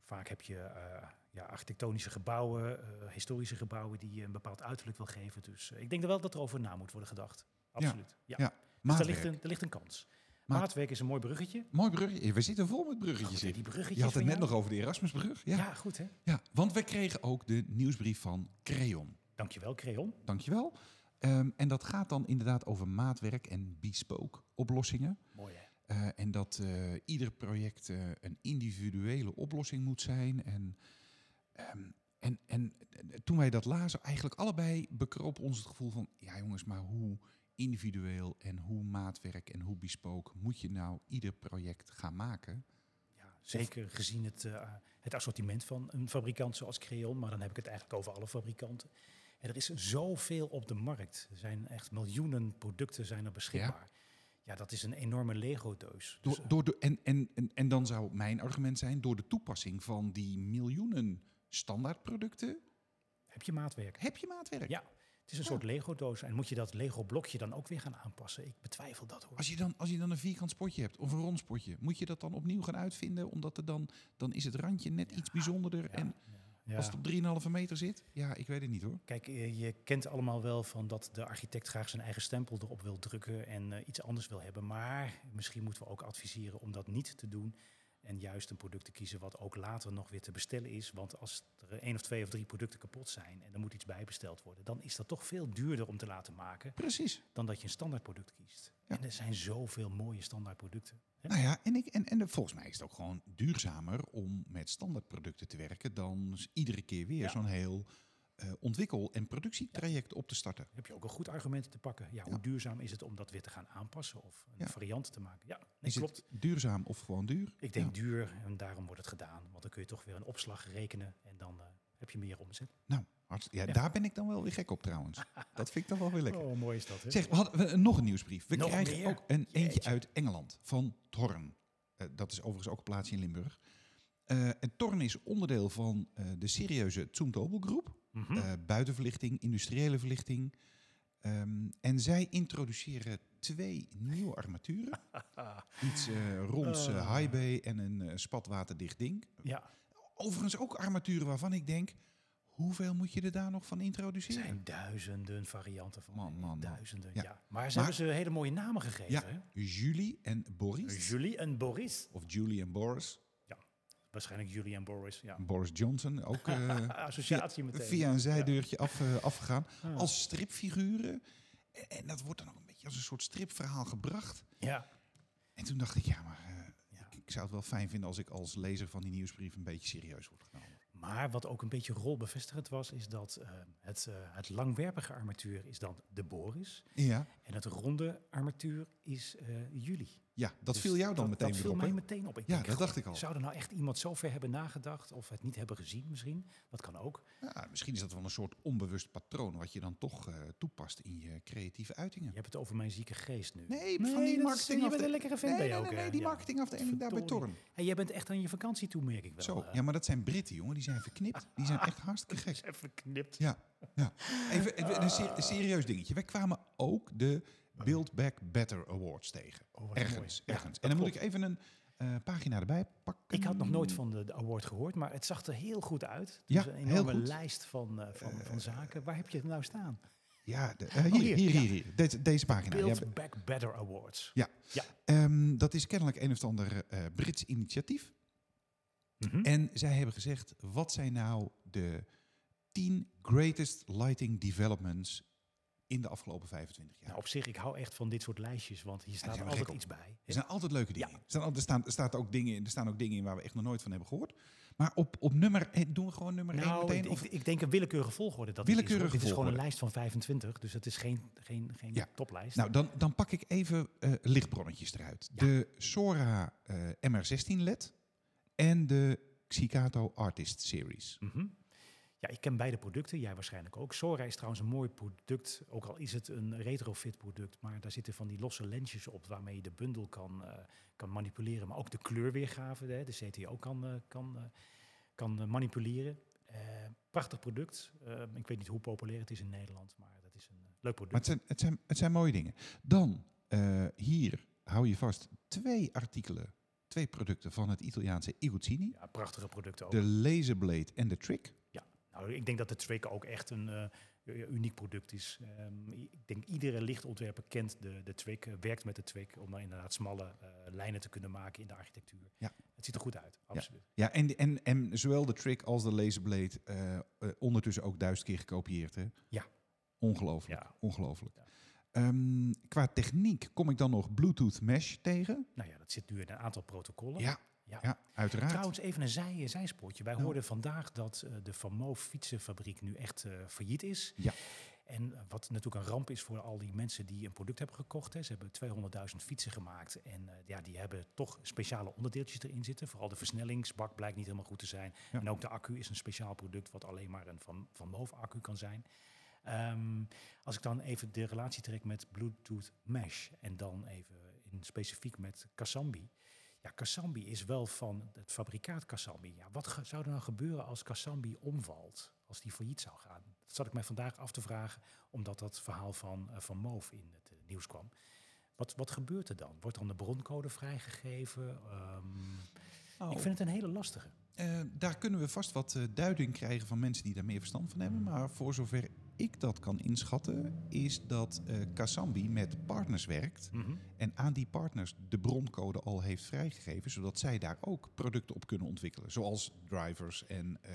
Speaker 2: Vaak heb je eh, ja, architectonische gebouwen, eh, historische gebouwen die je een bepaald uiterlijk wil geven. Dus eh, ik denk wel dat er over na moet worden gedacht. Absoluut. Ja.
Speaker 3: ja.
Speaker 2: Dus daar ligt,
Speaker 3: Maatwerk.
Speaker 2: een, daar ligt een kans.
Speaker 3: Maat-
Speaker 2: Maatwerk is een mooi bruggetje.
Speaker 3: Mooi bruggetje. We zitten vol met
Speaker 2: Goed,
Speaker 3: bruggetjes
Speaker 2: hè,
Speaker 3: in.
Speaker 2: die bruggetjes
Speaker 3: Je had het
Speaker 2: van
Speaker 3: net
Speaker 2: jou.
Speaker 3: nog over de Erasmusbrug. Ja. Ja.
Speaker 2: Ja, goed hè.
Speaker 3: want we kregen ook de nieuwsbrief van Creon.
Speaker 2: Dankjewel, Creon.
Speaker 3: Dankjewel. Ehm en dat gaat dan inderdaad over maatwerk en bespoke oplossingen.
Speaker 2: Mooi hè.
Speaker 3: Eh, en dat eh, ieder project eh, een individuele oplossing moet zijn. En, ehm, en, en eh, toen wij dat lazen, eigenlijk allebei bekroop ons het gevoel van... ja jongens, maar hoe individueel en hoe maatwerk en hoe bespoke... moet je nou ieder project gaan maken?
Speaker 2: Ja, zeker gezien het, eh, het assortiment van een fabrikant zoals Creon, maar dan heb ik het eigenlijk over alle fabrikanten. En er is zoveel op de markt. Er zijn echt miljoenen producten zijn er beschikbaar. Ja, dat is een enorme Lego-deus. Dus,
Speaker 3: Door,
Speaker 2: eh,
Speaker 3: door de, en, en, en, en dan zou mijn argument zijn... door de toepassing van die miljoenen standaardproducten...
Speaker 2: heb je maatwerk?
Speaker 3: heb je maatwerk.
Speaker 2: Ja, het is een
Speaker 3: Ja.
Speaker 2: soort Lego-doos. En moet je dat Lego-blokje dan ook weer gaan aanpassen? Ik betwijfel dat hoor.
Speaker 3: Als je, dan, als je dan een vierkant spotje hebt of een rond spotje, moet je dat dan opnieuw gaan uitvinden? Omdat er dan, dan is het randje net iets bijzonderder. en
Speaker 2: Ja.
Speaker 3: als het op 3,5 meter zit, ja, ik weet het niet hoor.
Speaker 2: Kijk, eh, je kent allemaal wel van dat de architect graag zijn eigen stempel erop wil drukken en eh, iets anders wil hebben. Maar misschien moeten we ook adviseren om dat niet te doen. En juist een product te kiezen wat ook later nog weer te bestellen is. Want als er één of twee of drie producten kapot zijn en er moet iets bijbesteld worden, dan is dat toch veel duurder om te laten maken
Speaker 3: Precies.
Speaker 2: dan dat je een standaard product kiest.
Speaker 3: Ja.
Speaker 2: En er zijn zoveel mooie standaard producten. Hè?
Speaker 3: Nou ja, en, ik, en, en volgens mij is het ook gewoon duurzamer om met standaardproducten te werken dan s- iedere keer weer
Speaker 2: Ja.
Speaker 3: zo'n heel eh, ontwikkel- en productietraject op te starten.
Speaker 2: Heb je ook een goed argument te pakken? Ja, hoe
Speaker 3: Ja.
Speaker 2: duurzaam is het om dat weer te gaan aanpassen of een
Speaker 3: Ja.
Speaker 2: variant te maken? Ja, nee,
Speaker 3: Is
Speaker 2: klopt.
Speaker 3: het duurzaam of gewoon duur?
Speaker 2: Ik denk
Speaker 3: Ja.
Speaker 2: duur en daarom wordt het gedaan. Want dan kun je toch weer een opslag rekenen en dan eh, heb je meer omzet.
Speaker 3: Nou, hartst- ja,
Speaker 2: Ja.
Speaker 3: daar ben ik dan wel weer gek op
Speaker 2: [LAUGHS]
Speaker 3: trouwens. Dat vind ik dan wel weer lekker.
Speaker 2: Oh, mooi is dat. Hè?
Speaker 3: Zeg, we hadden we- eh, nog een nieuwsbrief. We
Speaker 2: Nog
Speaker 3: krijgen
Speaker 2: meer?
Speaker 3: ook een eentje
Speaker 2: Jeetje.
Speaker 3: uit Engeland van Torn. Eh, dat is overigens ook een plaatsje in Limburg. Eh, en Torn is onderdeel van eh, de serieuze Zumtobel Groep.
Speaker 2: Mhm.
Speaker 3: Eh, buitenverlichting, industriële verlichting. Ehm, en zij introduceren twee nieuwe
Speaker 2: [LAUGHS]
Speaker 3: armaturen. Iets eh ronds eh,
Speaker 2: Ah.
Speaker 3: high bay en een eh, spatwaterdicht ding.
Speaker 2: ja,
Speaker 3: Overigens ook armaturen waarvan ik denk... hoeveel moet je er daar nog van
Speaker 2: er
Speaker 3: introduceren?
Speaker 2: zijn duizenden varianten van.
Speaker 3: Man, man, man.
Speaker 2: Duizenden, ja.
Speaker 3: Ja.
Speaker 2: Maar ze
Speaker 3: Maar-
Speaker 2: hebben ze hele mooie namen gegeven.
Speaker 3: Ja.
Speaker 2: Hè?
Speaker 3: Julie en Boris.
Speaker 2: Julie en Boris.
Speaker 3: of Julie en Boris.
Speaker 2: Waarschijnlijk Julie en Boris, ja. Ah,
Speaker 3: Boris
Speaker 2: [LAUGHS]
Speaker 3: Johnson, ook eh,
Speaker 2: Associatie meteen.
Speaker 3: via een zijdeurtje af, eh, afgegaan.
Speaker 2: Ah.
Speaker 3: Als stripfiguren. En, en dat wordt dan ook een beetje als een soort stripverhaal gebracht.
Speaker 2: Ja.
Speaker 3: En toen dacht ik, ja, maar eh,
Speaker 2: Ja.
Speaker 3: ik, ik zou het wel fijn vinden als ik als lezer van die nieuwsbrief een beetje serieus word genomen.
Speaker 2: Maar wat ook een beetje rolbevestigend was, is dat eh, het, eh, het langwerpige armatuur is dan de Boris.
Speaker 3: Ja,
Speaker 2: En het ronde armatuur is eh Julie.
Speaker 3: ja dat
Speaker 2: Dus
Speaker 3: viel jou dan
Speaker 2: dat-
Speaker 3: meteen
Speaker 2: dat
Speaker 3: weer
Speaker 2: viel
Speaker 3: op,
Speaker 2: mij
Speaker 3: hè?
Speaker 2: meteen op. Ik
Speaker 3: Ja,
Speaker 2: denk,
Speaker 3: dat
Speaker 2: goh,
Speaker 3: dacht ik al.
Speaker 2: Zou er nou echt iemand zo ver hebben nagedacht of het niet hebben gezien misschien? Dat kan ook.
Speaker 3: Ja, misschien is dat wel een soort onbewust patroon wat je dan toch eh, toepast in je creatieve uitingen.
Speaker 2: Je hebt het over mijn zieke geest nu.
Speaker 3: Nee,
Speaker 2: Nee,
Speaker 3: van
Speaker 2: dat
Speaker 3: die
Speaker 2: is-
Speaker 3: marketingafdeling.
Speaker 2: je bent een lekkere vent
Speaker 3: nee,
Speaker 2: ben je
Speaker 3: nee,
Speaker 2: ook,
Speaker 3: nee,
Speaker 2: hè?
Speaker 3: nee, die
Speaker 2: Ja.
Speaker 3: marketingafdeling daar bij
Speaker 2: Verdorie.
Speaker 3: Torn.
Speaker 2: eh, Hey, jij bent echt aan je vakantie toe, merk ik wel.
Speaker 3: Zo,
Speaker 2: eh.
Speaker 3: ja, maar dat zijn Britten, jongen. Die zijn verknipt. Die zijn echt hartstikke gek.
Speaker 2: Even knipt.
Speaker 3: Ja, ja. Even eh, een, ser- een serieus dingetje. Wij kwamen ook de Build Back Better Awards tegen.
Speaker 2: Oh, wat mooi.
Speaker 3: Ergens,
Speaker 2: Ja,
Speaker 3: ergens.
Speaker 2: dat
Speaker 3: en dan moet
Speaker 2: klopt.
Speaker 3: ik even een, eh, pagina erbij pakken.
Speaker 2: Ik had nog nooit van de, de award gehoord, maar het zag er heel goed uit. Het
Speaker 3: Ja,
Speaker 2: is een
Speaker 3: heel
Speaker 2: enorme
Speaker 3: goed.
Speaker 2: lijst van, eh, van, van zaken. Waar heb je het nou staan?
Speaker 3: Ja, de- eh,
Speaker 2: Oh,
Speaker 3: hier,
Speaker 2: hier,
Speaker 3: hier, hier,
Speaker 2: ja.
Speaker 3: hier, Deze, deze pagina. Ja,
Speaker 2: Build Back Better Awards.
Speaker 3: ehm, dat is kennelijk een of ander eh, Brits initiatief.
Speaker 2: Mhm.
Speaker 3: En zij hebben gezegd, wat zijn nou de 10 greatest lighting developments in de afgelopen 25 jaar?
Speaker 2: Nou, op zich, ik hou echt van dit soort lijstjes, want hier staat
Speaker 3: zijn we
Speaker 2: altijd
Speaker 3: gek op.
Speaker 2: iets bij.
Speaker 3: er zijn altijd leuke dingen.
Speaker 2: Ja.
Speaker 3: in. Er, staan, al- er, staan, er, staat ook dingen in, er staan ook dingen in waar we echt nog nooit van hebben gehoord. Maar op, op nummer, eh, doen we gewoon nummer 1
Speaker 2: Nou, ik,
Speaker 3: meteen? Of,
Speaker 2: ik- ik denk een willekeurige volgorde. Dat dit is, hoor.
Speaker 3: Willekeurige
Speaker 2: Dit is gewoon een
Speaker 3: volgorde.
Speaker 2: lijst van 25, dus dat is geen, geen, geen
Speaker 3: Ja.
Speaker 2: toplijst.
Speaker 3: nou, dan, dan pak ik even eh, lichtbronnetjes eruit.
Speaker 2: Ja.
Speaker 3: De Sora eh, MR16 LED en de Xicato Artist Series.
Speaker 2: Mhm. Ja, ik ken beide producten, jij waarschijnlijk ook. Sora is trouwens een mooi product, ook al is het een retrofit product, maar daar zitten van die losse lensjes op waarmee je de bundel kan, eh, kan manipuleren, maar ook de kleurweergave, hè, de CTO kan, eh, kan, eh, kan eh, manipuleren. Eh, prachtig product. Eh, ik weet niet hoe populair het is in Nederland, maar dat is een eh, leuk
Speaker 3: Maar
Speaker 2: product.
Speaker 3: het zijn, het zijn, het zijn mooie dingen. Dan, eh, hier hou je vast twee artikelen, twee producten van het Italiaanse Iguzzini.
Speaker 2: Ja, prachtige producten ook.
Speaker 3: De Laserblade en de Trick.
Speaker 2: Nou, ik denk dat de Trick ook echt een eh, u- uniek product is. Ehm, i- ik denk iedere lichtontwerper kent de, de Trick, eh, werkt met de Trick om daar inderdaad smalle eh, lijnen te kunnen maken in de architectuur.
Speaker 3: Ja.
Speaker 2: Het ziet er goed uit, absoluut.
Speaker 3: Ja, en, en, en zowel de Trick als de Laserblade eh, eh, ondertussen ook duizend keer gekopieerd. Hè?
Speaker 2: Ja. Ja.
Speaker 3: Ongelooflijk, ongelooflijk.
Speaker 2: Ja.
Speaker 3: Ehm, qua techniek kom ik dan nog Bluetooth Mesh tegen.
Speaker 2: Nou ja, dat zit nu in een aantal protocollen.
Speaker 3: Ja,
Speaker 2: Ja.
Speaker 3: ja. uiteraard.
Speaker 2: Trouwens, even een zij, eh, zijspoortje. Wij
Speaker 3: Nou.
Speaker 2: hoorden vandaag dat eh, de Van Moof fietsenfabriek nu echt eh, failliet is.
Speaker 3: Ja.
Speaker 2: En eh, wat natuurlijk een ramp is voor al die mensen die een product hebben gekocht. Hè. Ze hebben 200.000 fietsen gemaakt. En eh, ja, die hebben toch speciale onderdeeltjes erin zitten. Vooral de versnellingsbak blijkt niet helemaal goed te zijn.
Speaker 3: Ja.
Speaker 2: En ook de accu is een speciaal product wat alleen maar een Van, van Moof accu kan zijn. Ehm, als ik dan even de relatie trek met Bluetooth Mesh en dan even in specifiek met Kasambi. Ja, Kasambi is wel van het fabrikaat Kasambi. Ja, wat ge- zou er nou gebeuren als Kasambi omvalt, als die failliet zou gaan? Dat zat ik mij vandaag af te vragen, omdat dat verhaal van, eh, van Moof in het eh, nieuws kwam. Wat, wat gebeurt er dan? Wordt dan de broncode vrijgegeven? Ehm,
Speaker 3: Oh.
Speaker 2: Ik vind het een hele lastige.
Speaker 3: Eh, daar kunnen we vast wat eh, duiding krijgen van mensen die daar meer verstand van hebben. Maar voor zover ik dat kan inschatten, is dat eh Kasambi met partners werkt. En aan die partners de broncode al heeft vrijgegeven, zodat zij daar ook producten op kunnen ontwikkelen. Zoals drivers en eh,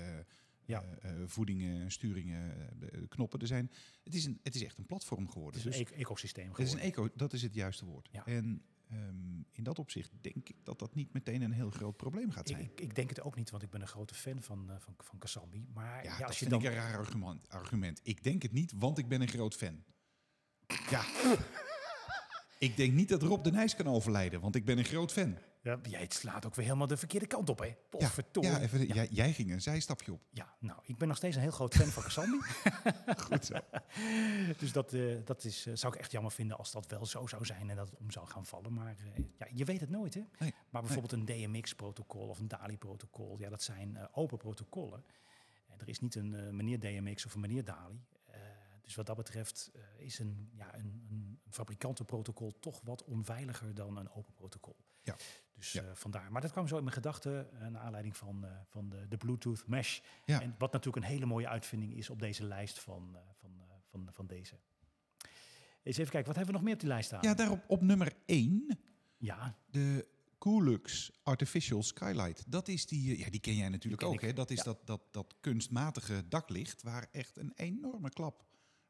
Speaker 2: Ja.
Speaker 3: eh, eh, voedingen, sturingen, eh, eh, knoppen. Er zijn, het, is een, het is echt een platform
Speaker 2: Het
Speaker 3: geworden.
Speaker 2: is een
Speaker 3: Dus
Speaker 2: eco- ecosysteem
Speaker 3: het is een
Speaker 2: geworden.
Speaker 3: eco, dat is het juiste woord.
Speaker 2: Ja.
Speaker 3: En ehm, in dat opzicht denk ik dat dat niet meteen een heel groot probleem gaat zijn.
Speaker 2: Ik, ik, ik denk het ook niet, want ik ben een grote fan van, eh van, van Kasambi. Maar ja,
Speaker 3: Ja, dat
Speaker 2: als je
Speaker 3: vind
Speaker 2: dan...
Speaker 3: ik een raar argument, argument. Ik denk het niet, want ik ben een groot fan.
Speaker 2: [LAUGHS]
Speaker 3: Ja. ik denk niet dat Rob de Nijs kan overlijden, want ik ben een groot fan.
Speaker 2: Ja, jij het slaat ook weer helemaal de verkeerde kant op, hè?
Speaker 3: Ja,
Speaker 2: Potverdorie.
Speaker 3: ja, even, Jij, jij ging een zijstapje op.
Speaker 2: Ja, nou, ik ben nog steeds een heel groot fan van Kasambi.
Speaker 3: [LAUGHS] Goed zo.
Speaker 2: [LAUGHS] dus dat, eh, dat is, eh, zou ik echt jammer vinden als dat wel zo zou zijn en dat het om zou gaan vallen. Maar eh, ja, je weet het nooit, hè?
Speaker 3: Nee,
Speaker 2: maar bijvoorbeeld een DMX-protocol of een DALI-protocol, ja, dat zijn eh, open protocollen. En er is niet een eh, meneer DMX of een meneer DALI. Eh, dus wat dat betreft eh, is een, ja, een, een fabrikantenprotocol toch wat onveiliger dan een open protocol.
Speaker 3: Ja.
Speaker 2: Dus
Speaker 3: Ja.
Speaker 2: eh, vandaar. Maar dat kwam zo in mijn gedachten eh, naar aanleiding van, eh, van de, de Bluetooth Mesh.
Speaker 3: Ja.
Speaker 2: En wat natuurlijk een hele mooie uitvinding is op deze lijst van, eh, van, eh, van, van deze. Eens even kijken, wat hebben we nog meer op die lijst staan?
Speaker 3: Ja, daarop op nummer 1,
Speaker 2: Ja,
Speaker 3: de Coolux Artificial Skylight. Dat is die, eh, ja, die ken jij natuurlijk
Speaker 2: Die ken
Speaker 3: ook. Hè? Dat is
Speaker 2: ja.
Speaker 3: dat, dat, dat kunstmatige daklicht waar echt een enorme klap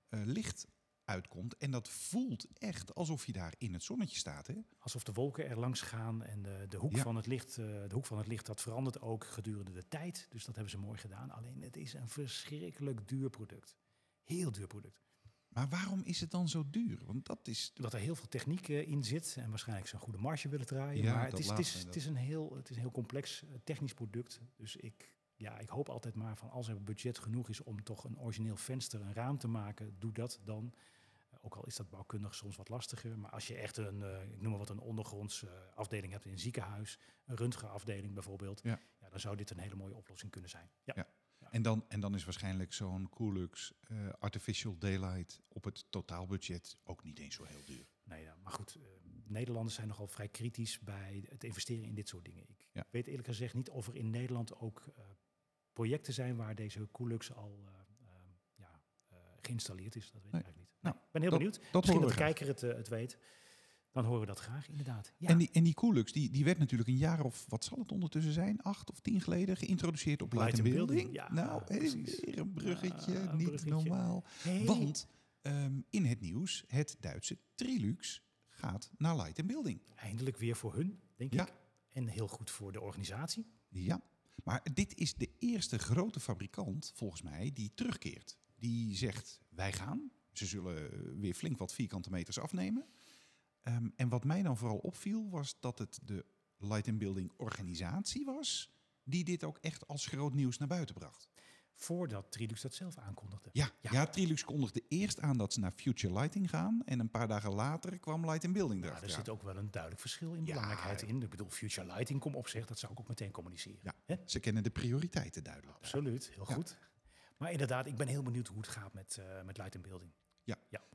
Speaker 3: eh, licht uitkomt. En dat voelt echt alsof je daar in het zonnetje staat. Hè?
Speaker 2: alsof de wolken er langs gaan en de, de, hoek
Speaker 3: Ja.
Speaker 2: van het licht, eh, de hoek van het licht, dat verandert ook gedurende de tijd. Dus dat hebben ze mooi gedaan. Alleen het is een verschrikkelijk duur product. Heel duur product.
Speaker 3: Maar waarom is het dan zo duur? Want dat is.
Speaker 2: Omdat er heel veel techniek eh, in zit en waarschijnlijk ze een goede marge willen draaien.
Speaker 3: Ja,
Speaker 2: maar het
Speaker 3: dat
Speaker 2: is, het, is,
Speaker 3: laatste,
Speaker 2: het, is een heel, het is een heel complex eh, technisch product. Dus ik, ja, ik hoop altijd maar van als er budget genoeg is om toch een origineel venster, een raam te maken, doe dat dan. Eh, Ook al is dat bouwkundig soms wat lastiger. Maar als je echt een, eh, ik noem maar wat, een ondergronds eh, afdeling hebt in een ziekenhuis, een röntgenafdeling bijvoorbeeld,
Speaker 3: Ja.
Speaker 2: Ja, dan zou dit een hele mooie oplossing kunnen zijn. Ja.
Speaker 3: Ja. En dan, en dan is waarschijnlijk zo'n Coolux eh, Artificial Daylight op het totaalbudget ook niet eens zo heel duur.
Speaker 2: Nou ja, maar goed, eh, Nederlanders zijn nogal vrij kritisch bij het investeren in dit soort dingen. Ik
Speaker 3: Ja.
Speaker 2: weet eerlijk gezegd niet of er in Nederland ook eh, projecten zijn waar deze Coolux al eh, eh, ja, eh, geïnstalleerd is. Dat weet
Speaker 3: Nee.
Speaker 2: ik eigenlijk niet.
Speaker 3: Nou,
Speaker 2: ik ben heel benieuwd.
Speaker 3: Dat
Speaker 2: Misschien
Speaker 3: horen
Speaker 2: dat
Speaker 3: we
Speaker 2: de
Speaker 3: graag.
Speaker 2: kijker het, eh, het weet. Dan horen we dat graag, inderdaad. Ja.
Speaker 3: En die, en die Coolux, die, die werd natuurlijk een jaar of, wat zal het ondertussen zijn, acht of tien geleden geïntroduceerd op
Speaker 2: Light
Speaker 3: Light
Speaker 2: and
Speaker 3: Building.
Speaker 2: Building, ja,
Speaker 3: nou, hé,
Speaker 2: precies.
Speaker 3: weer een bruggetje,
Speaker 2: Ja, een
Speaker 3: niet
Speaker 2: bruggetje.
Speaker 3: normaal.
Speaker 2: Hey.
Speaker 3: Want ehm, in het nieuws, het Duitse Trilux gaat naar Light and Building.
Speaker 2: Eindelijk weer voor hun, denk
Speaker 3: Ja.
Speaker 2: ik. En heel goed voor de organisatie.
Speaker 3: Ja, maar dit is de eerste grote fabrikant, volgens mij, die terugkeert. Die zegt, wij gaan. Ze zullen eh, weer flink wat vierkante meters afnemen. Ehm, en wat mij dan vooral opviel, was dat het de Light and Building organisatie was... die dit ook echt als groot nieuws naar buiten bracht.
Speaker 2: Voordat Trilux dat zelf aankondigde.
Speaker 3: Ja,
Speaker 2: Ja.
Speaker 3: ja. Trilux kondigde eerst aan dat ze naar Future Lighting gaan... en een paar dagen later kwam Light and Building
Speaker 2: Ja, er
Speaker 3: erachter.
Speaker 2: zit ook wel een duidelijk verschil in
Speaker 3: Ja.
Speaker 2: belangrijkheid in. Ik bedoel, Future Lighting, kom op zeg, dat zou ik ook meteen communiceren.
Speaker 3: Ja.
Speaker 2: Hè?
Speaker 3: Ze kennen de prioriteiten duidelijk.
Speaker 2: Absoluut, heel
Speaker 3: Ja.
Speaker 2: goed. Maar inderdaad, ik ben heel benieuwd hoe het gaat met, eh, met Light and Building.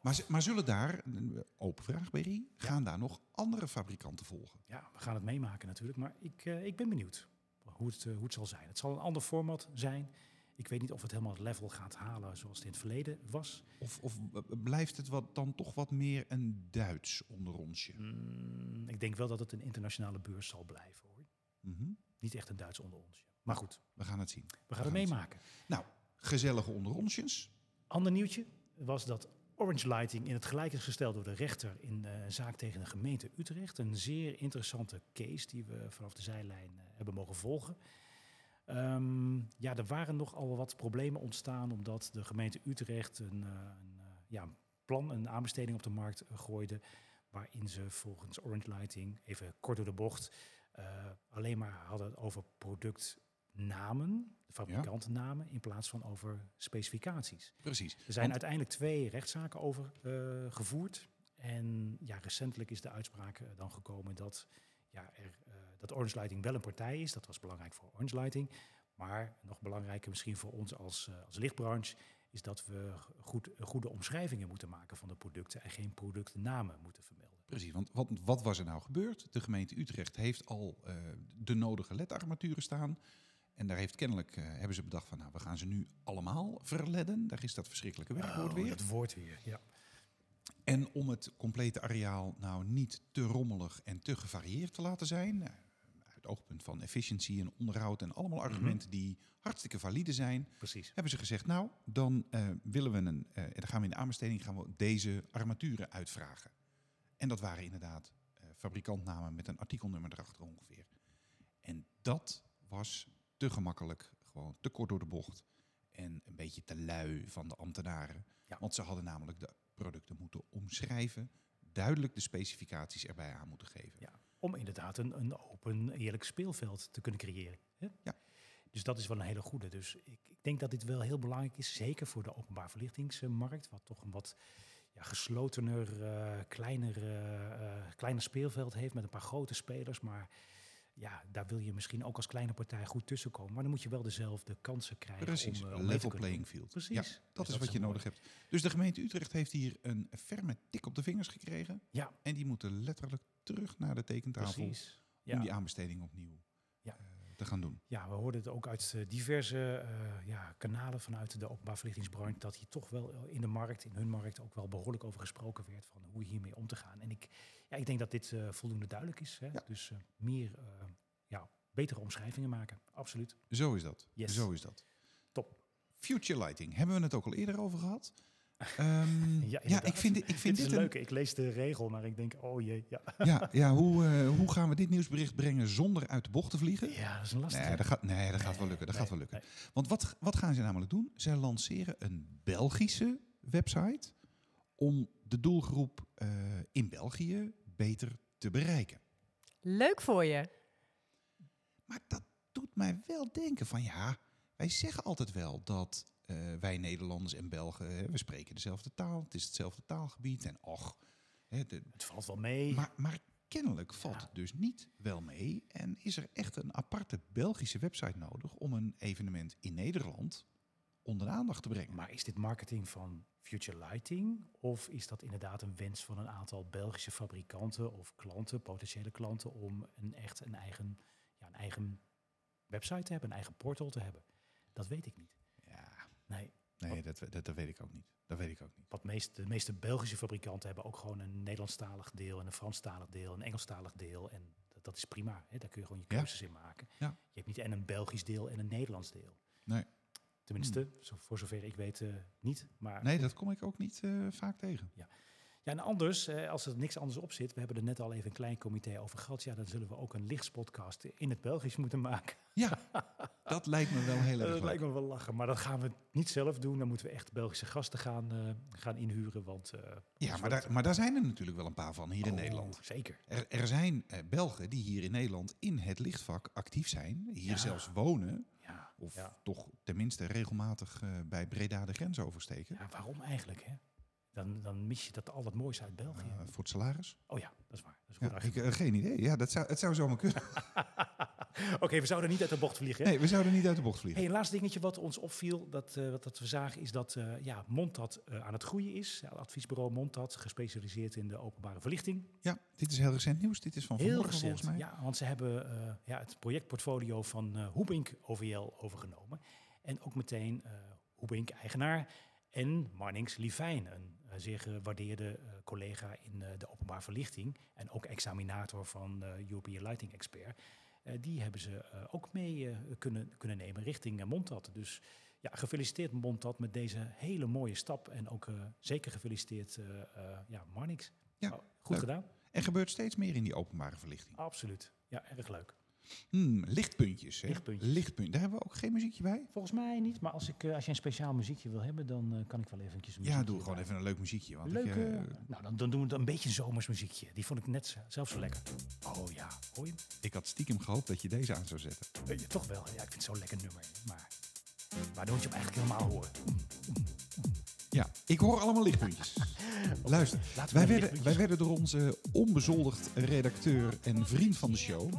Speaker 3: Maar, z- maar zullen daar, eh, open vraag Berry, gaan daar nog andere fabrikanten volgen?
Speaker 2: Ja, we gaan het meemaken natuurlijk, maar ik, eh, ik ben benieuwd hoe het, eh, hoe het zal zijn. Het zal een ander format zijn. Ik weet niet of het helemaal het level gaat halen zoals het in het verleden was.
Speaker 3: Of, of eh, blijft het wat, dan toch wat meer een Duits onder onsje?
Speaker 2: Mm, ik denk wel dat het een internationale beurs zal blijven. Hoor.
Speaker 3: Mhm.
Speaker 2: Niet echt een Duits onder ons. Maar goed,
Speaker 3: We gaan het zien.
Speaker 2: we
Speaker 3: gaan
Speaker 2: gaan het
Speaker 3: het
Speaker 2: meemaken.
Speaker 3: Nou, gezellige onder onsjes.
Speaker 2: Ander nieuwtje was dat Orange Lighting in het gelijk is gesteld door de rechter in eh, een zaak tegen de gemeente Utrecht. Een zeer interessante case die we vanaf de zijlijn eh, hebben mogen volgen. Ehm, ja, er waren nogal wel wat problemen ontstaan omdat de gemeente Utrecht een, eh, een, eh, ja, een plan, een aanbesteding op de markt eh, gooide. Waarin ze volgens Orange Lighting, even kort door de bocht, eh, alleen maar hadden over productnamen, fabrikantnamen, in plaats van over specificaties.
Speaker 3: Precies.
Speaker 2: Er zijn
Speaker 3: Want-
Speaker 2: uiteindelijk twee rechtszaken over eh, gevoerd. En ja, recentelijk is de uitspraak eh, dan gekomen dat, ja, er, eh, dat Orange Lighting wel een partij is. Dat was belangrijk voor Orange Lighting. Maar nog belangrijker misschien voor ons als, eh, als lichtbranche is dat we g- goed, goede omschrijvingen moeten maken van de producten en geen productnamen moeten vermelden.
Speaker 3: Precies, want wat, wat was er nou gebeurd? De gemeente Utrecht heeft al eh, de nodige ledarmaturen staan. En daar heeft kennelijk, eh, hebben ze bedacht van, nou, we gaan ze nu allemaal verledden. Daar is dat verschrikkelijke werkwoord
Speaker 2: Oh,
Speaker 3: weer.
Speaker 2: Dat woord weer, ja.
Speaker 3: En om het complete areaal nou niet te rommelig en te gevarieerd te laten zijn, eh, uit het oogpunt van efficiëntie en onderhoud en allemaal argumenten die hartstikke valide zijn,
Speaker 2: Precies.
Speaker 3: hebben ze gezegd, nou, dan eh, willen we een, eh, en dan gaan we in de aanbesteding gaan we deze armaturen uitvragen. En dat waren inderdaad eh, fabrikantnamen met een artikelnummer erachter ongeveer. En dat was te gemakkelijk, gewoon te kort door de bocht en een beetje te lui van de ambtenaren.
Speaker 2: Ja.
Speaker 3: Want ze hadden namelijk de producten moeten omschrijven, duidelijk de specificaties erbij aan moeten geven.
Speaker 2: Ja, om inderdaad een, een open, eerlijk speelveld te kunnen creëren. Hè?
Speaker 3: Ja.
Speaker 2: Dus dat is wel een hele goede. Dus ik, ik denk dat dit wel heel belangrijk is, zeker voor de openbaar verlichtingsmarkt, wat toch een wat ja, geslotener, eh, kleiner, eh, eh, kleiner speelveld heeft met een paar grote spelers. Maar ja, daar wil je misschien ook als kleine partij goed tussenkomen. Maar dan moet je wel dezelfde kansen krijgen.
Speaker 3: Precies,
Speaker 2: om, eh, om mee te
Speaker 3: level
Speaker 2: kunnen
Speaker 3: playing
Speaker 2: doen.
Speaker 3: field.
Speaker 2: Precies.
Speaker 3: Ja,
Speaker 2: Dus
Speaker 3: dat is
Speaker 2: een
Speaker 3: wat je
Speaker 2: mooi-
Speaker 3: nodig hebt. Dus de gemeente Utrecht heeft hier een ferme tik op de vingers gekregen.
Speaker 2: Ja.
Speaker 3: En die moeten letterlijk terug naar de tekentafel
Speaker 2: Precies.
Speaker 3: om die aanbesteding opnieuw
Speaker 2: Ja.
Speaker 3: eh, te gaan doen.
Speaker 2: Ja, we hoorden het ook uit eh, diverse eh, ja, kanalen vanuit de openbaar verlichtingsbranche. dat hier toch wel eh, in de markt, in hun markt, ook wel behoorlijk over gesproken werd. van hoe hiermee om te gaan. En ik, ja, ik denk dat dit eh, voldoende duidelijk is. Hè?
Speaker 3: Ja.
Speaker 2: Dus eh, meer, eh, ja, betere omschrijvingen maken. Absoluut.
Speaker 3: Zo is dat.
Speaker 2: Yes.
Speaker 3: Zo is dat.
Speaker 2: Top.
Speaker 3: Future Lighting, hebben we het ook al eerder over gehad?
Speaker 2: [LAUGHS]
Speaker 3: Ehm, ja,
Speaker 2: inderdaad.
Speaker 3: ik vind, di- ik vind
Speaker 2: dit
Speaker 3: dit,
Speaker 2: is
Speaker 3: een-
Speaker 2: leuk. Ik lees de regel, maar ik denk, oh jee. Ja,
Speaker 3: Ja, ja hoe, eh, hoe gaan we dit nieuwsbericht brengen zonder uit de bocht te
Speaker 2: [LAUGHS]
Speaker 3: vliegen?
Speaker 2: ja dat is een lastige.
Speaker 3: Nee, dat gaat, nee, dat gaat wel lukken. Dat
Speaker 2: Nee,
Speaker 3: gaat wel lukken.
Speaker 2: nee.
Speaker 3: Want wat, wat gaan ze namelijk doen? Zij lanceren een Belgische website om de doelgroep eh, in België beter te bereiken.
Speaker 4: Leuk voor je.
Speaker 3: Maar dat doet mij wel denken van ja, wij zeggen altijd wel dat eh, wij Nederlanders en Belgen, hè, we spreken dezelfde taal, het is hetzelfde taalgebied en och. Hè, de,
Speaker 2: Het valt wel mee.
Speaker 3: maar, maar kennelijk valt het dus niet wel mee. En is er echt een aparte Belgische website nodig om een evenement in Nederland onder de aandacht te brengen.
Speaker 2: Maar is dit marketing van Future Lighting? Of is dat inderdaad een wens van een aantal Belgische fabrikanten of klanten, potentiële klanten, om een echt een eigen, ja, een eigen website te hebben, een eigen portal te hebben? Dat weet ik niet.
Speaker 3: Ja,
Speaker 2: Nee,
Speaker 3: nee, dat, we- dat, dat weet ik ook niet. Dat weet ik ook niet.
Speaker 2: wat meest, de meeste Belgische fabrikanten hebben ook gewoon een Nederlandstalig deel en een Franstalig deel, een Engelstalig deel. En dat, dat is prima. Hè? Daar kun je gewoon je
Speaker 3: Ja.
Speaker 2: keuzes in maken.
Speaker 3: Ja.
Speaker 2: Je hebt niet en een Belgisch deel en een Nederlands deel.
Speaker 3: Nee. Hmm.
Speaker 2: Tenminste, zo, voor zover ik weet eh, niet. Maar
Speaker 3: Nee, dat kom ik ook niet eh, vaak tegen.
Speaker 2: Ja, en anders, eh, als er niks anders op zit, we hebben er net al even een klein comité over gehad. Ja, dan zullen we ook een lichtspodcast in het Belgisch moeten maken.
Speaker 3: Ja, dat lijkt me wel heel erg
Speaker 2: [LAUGHS] dat
Speaker 3: leuk.
Speaker 2: lijkt me wel lachen, maar dat gaan we niet zelf doen. Dan moeten we echt Belgische gasten gaan, eh, gaan inhuren. Want, eh,
Speaker 3: Ja,
Speaker 2: anders
Speaker 3: maar
Speaker 2: wordt
Speaker 3: daar,
Speaker 2: het-
Speaker 3: maar daar zijn er natuurlijk wel een paar van hier in
Speaker 2: Oh,
Speaker 3: Nederland.
Speaker 2: Zeker.
Speaker 3: Er, er zijn eh, Belgen die hier in Nederland in het lichtvak actief zijn, hier
Speaker 2: Ja.
Speaker 3: zelfs wonen,
Speaker 2: Ja,
Speaker 3: of
Speaker 2: ja.
Speaker 3: toch tenminste regelmatig eh, bij Breda de grens oversteken. eh,
Speaker 2: ja, waarom eigenlijk, hè? Dan, dan mis je dat al het moois uit België.
Speaker 3: Eh, voor het salaris?
Speaker 2: oh ja, dat is waar. Dat is goed
Speaker 3: Ja, ik, eh, geen idee. Ja, dat zou, het zou zomaar kunnen.
Speaker 2: Oké, we zouden niet uit de bocht vliegen. hè?
Speaker 3: Nee, we zouden niet uit de bocht
Speaker 2: Hey,
Speaker 3: vliegen.
Speaker 2: een laatste dingetje wat ons opviel, dat, eh, wat dat we zagen, is dat eh, ja, Montad eh, aan het groeien is. Ja, het adviesbureau Montad, gespecialiseerd in de openbare verlichting.
Speaker 3: Ja, dit is heel recent nieuws. Dit is van
Speaker 2: Heel
Speaker 3: vanmorgen
Speaker 2: recent,
Speaker 3: volgens mij.
Speaker 2: ja, want ze hebben eh, ja, het projectportfolio van eh Hoebink OVL overgenomen. En ook meteen eh Hoebink eigenaar en Marnix Livijn, een eh, zeer gewaardeerde eh, collega in eh, de openbare verlichting en ook examinator van eh European Lighting Expert. Eh, die hebben ze eh, ook mee eh, kunnen, kunnen nemen richting eh, Montad. Dus ja, gefeliciteerd Montad met deze hele mooie stap. En ook eh, zeker gefeliciteerd eh eh, ja, Marnix.
Speaker 3: Ja,
Speaker 2: Oh, goed
Speaker 3: leuk.
Speaker 2: gedaan.
Speaker 3: Er gebeurt steeds meer in die openbare verlichting.
Speaker 2: Absoluut. Ja, erg leuk.
Speaker 3: Hmm, lichtpuntjes, hè?
Speaker 2: Lichtpuntjes.
Speaker 3: Lichtpunt. Daar hebben we ook geen muziekje bij.
Speaker 2: Volgens mij niet, maar als, ik, eh, als je een speciaal muziekje wil hebben, dan eh, kan ik wel eventjes een
Speaker 3: Ja,
Speaker 2: muziekje
Speaker 3: doe gewoon
Speaker 2: erbij.
Speaker 3: even een leuk muziekje. Want ik,
Speaker 2: Leuke.
Speaker 3: eh,
Speaker 2: nou, dan, dan doen we dan een beetje een zomers muziekje. Die vond ik net z- zelf zo lekker. Oh ja, hoor je hem?
Speaker 3: ik had stiekem gehoopt dat je deze aan zou zetten.
Speaker 2: Eh, ja, toch wel. Ja, ik vind het zo'n lekker nummer. Maar waar moet je hem eigenlijk helemaal horen?
Speaker 3: Ja, ik hoor allemaal
Speaker 2: [LAUGHS]
Speaker 3: lichtpuntjes. Luister,
Speaker 2: Laten we naar
Speaker 3: wij
Speaker 2: de
Speaker 3: werden, wij
Speaker 2: lichtpuntjes.
Speaker 3: werden door onze onbezoldigd redacteur en vriend van de show.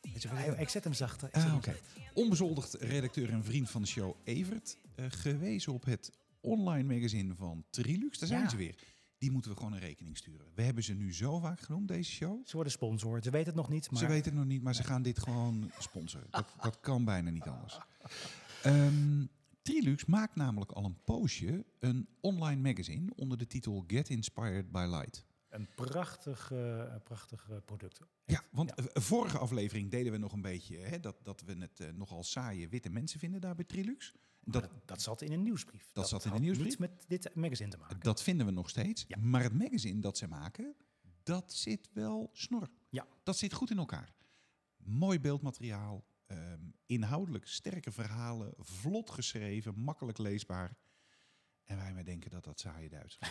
Speaker 2: Weet je wel, ik- Ik zet hem zachter. Ik zet
Speaker 3: Ah,
Speaker 2: hem
Speaker 3: oké. Onbezoldigd redacteur en vriend van de show Evert. eh, gewezen op het online magazine van Trilux. Daar zijn
Speaker 2: Ja.
Speaker 3: ze weer. Die moeten we gewoon een rekening sturen. We hebben ze nu zo vaak genoemd, deze show.
Speaker 2: zachter. Ze worden sponsor. Ze weten het nog niet, maar
Speaker 3: Ze weten het nog niet, maar ze gaan dit gewoon sponsoren. Dat, dat kan bijna niet anders. Ehm Trilux maakt namelijk al een poosje een online magazine onder de titel Get Inspired by Light.
Speaker 2: een prachtig, eh, een prachtig eh, product.
Speaker 3: Ja, want eh, vorige aflevering deden we nog een beetje hè, dat, dat we het eh, nogal saaie witte mensen vinden daar bij Trilux.
Speaker 2: Maar
Speaker 3: Dat,
Speaker 2: Dat, dat zat in een nieuwsbrief. Dat,
Speaker 3: zat in een
Speaker 2: had
Speaker 3: nieuwsbrief.
Speaker 2: niets met dit magazine te maken.
Speaker 3: dat vinden we nog steeds.
Speaker 2: Ja.
Speaker 3: Maar het magazine dat ze maken, dat zit wel snor.
Speaker 2: Ja.
Speaker 3: Dat zit goed in elkaar. Mooi beeldmateriaal, ehm, inhoudelijk sterke verhalen, vlot geschreven, makkelijk leesbaar. En wij maar denken dat dat saai Duits is.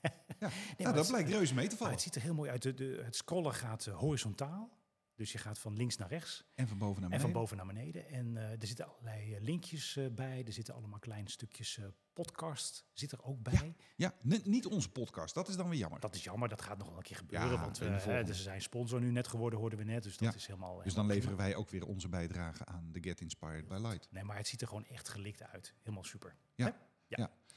Speaker 3: ja, nou,
Speaker 2: het
Speaker 3: dat
Speaker 2: is-
Speaker 3: blijkt reuze mee te
Speaker 2: Maar
Speaker 3: vallen.
Speaker 2: het ziet er heel mooi uit. De, de, het scrollen gaat eh, horizontaal. Dus je gaat van links naar rechts.
Speaker 3: En van boven naar
Speaker 2: En
Speaker 3: beneden.
Speaker 2: van boven naar beneden. En eh, er zitten allerlei eh, linkjes eh, bij. Er zitten allemaal kleine stukjes eh, podcast zit er ook bij.
Speaker 3: Ja, ni- niet onze podcast, dat is dan weer jammer.
Speaker 2: Dat is jammer, dat gaat nog wel een keer gebeuren.
Speaker 3: Ja,
Speaker 2: want
Speaker 3: in de
Speaker 2: eh,
Speaker 3: volgende.
Speaker 2: dus ze zijn sponsor nu net geworden, hoorden we net. Dus dat
Speaker 3: Ja.
Speaker 2: is helemaal...
Speaker 3: dus dan
Speaker 2: helemaal
Speaker 3: leveren wij ook weer onze bijdrage aan de Get Inspired by Light.
Speaker 2: prima. Nee, maar het ziet er gewoon echt gelikt uit. Helemaal super.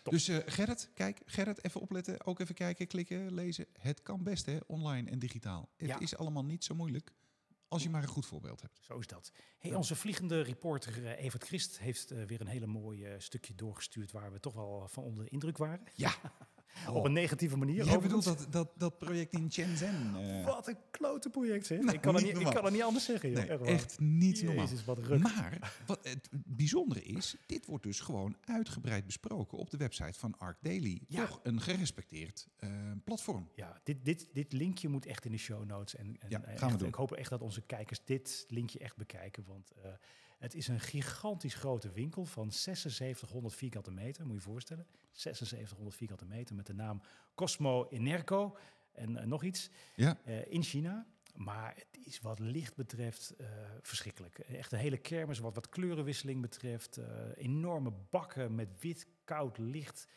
Speaker 2: Top.
Speaker 3: Dus eh, Gerrit, kijk, Gerrit, even opletten. Ook even kijken, klikken, lezen. Het kan best, hè, online en digitaal. Het
Speaker 2: Ja.
Speaker 3: is allemaal niet zo moeilijk als je maar een goed voorbeeld hebt.
Speaker 2: Zo is dat. Hey, onze vliegende reporter eh, Evert Christ heeft eh, weer een hele mooi eh, stukje doorgestuurd... waar we toch wel eh, van onder de indruk waren.
Speaker 3: Ja. Oh.
Speaker 2: Op een negatieve manier.
Speaker 3: Jij bedoelt
Speaker 2: overigens.
Speaker 3: dat, dat, dat project in Shenzhen. eh,
Speaker 2: Wat een klote project, zeg.
Speaker 3: Nou,
Speaker 2: ik, kan
Speaker 3: niet
Speaker 2: het niet, ik
Speaker 3: normaal.
Speaker 2: kan het niet anders zeggen, joh.
Speaker 3: nee,
Speaker 2: echt, waar.
Speaker 3: echt niet normaal.
Speaker 2: Jezus, wat ruk.
Speaker 3: Maar wat het bijzondere is, dit wordt dus gewoon uitgebreid besproken op de website van Arc Daily.
Speaker 2: Ja.
Speaker 3: Toch een gerespecteerd eh, platform.
Speaker 2: Ja, dit, dit, dit linkje moet echt in de show notes. En, en
Speaker 3: Ja,
Speaker 2: eh,
Speaker 3: gaan we
Speaker 2: echt,
Speaker 3: doen.
Speaker 2: Ik hoop echt dat onze kijkers dit linkje echt bekijken. Want eh, het is een gigantisch grote winkel van 7600 vierkante meter. Moet je je voorstellen. 7600 vierkante meter met de naam Cosmo Enerco. En eh, nog iets
Speaker 3: Ja.
Speaker 2: eh, in China. Maar het is wat licht betreft eh, verschrikkelijk. Echt een hele kermis wat, wat kleurenwisseling betreft. eh, enorme bakken met wit, koud licht.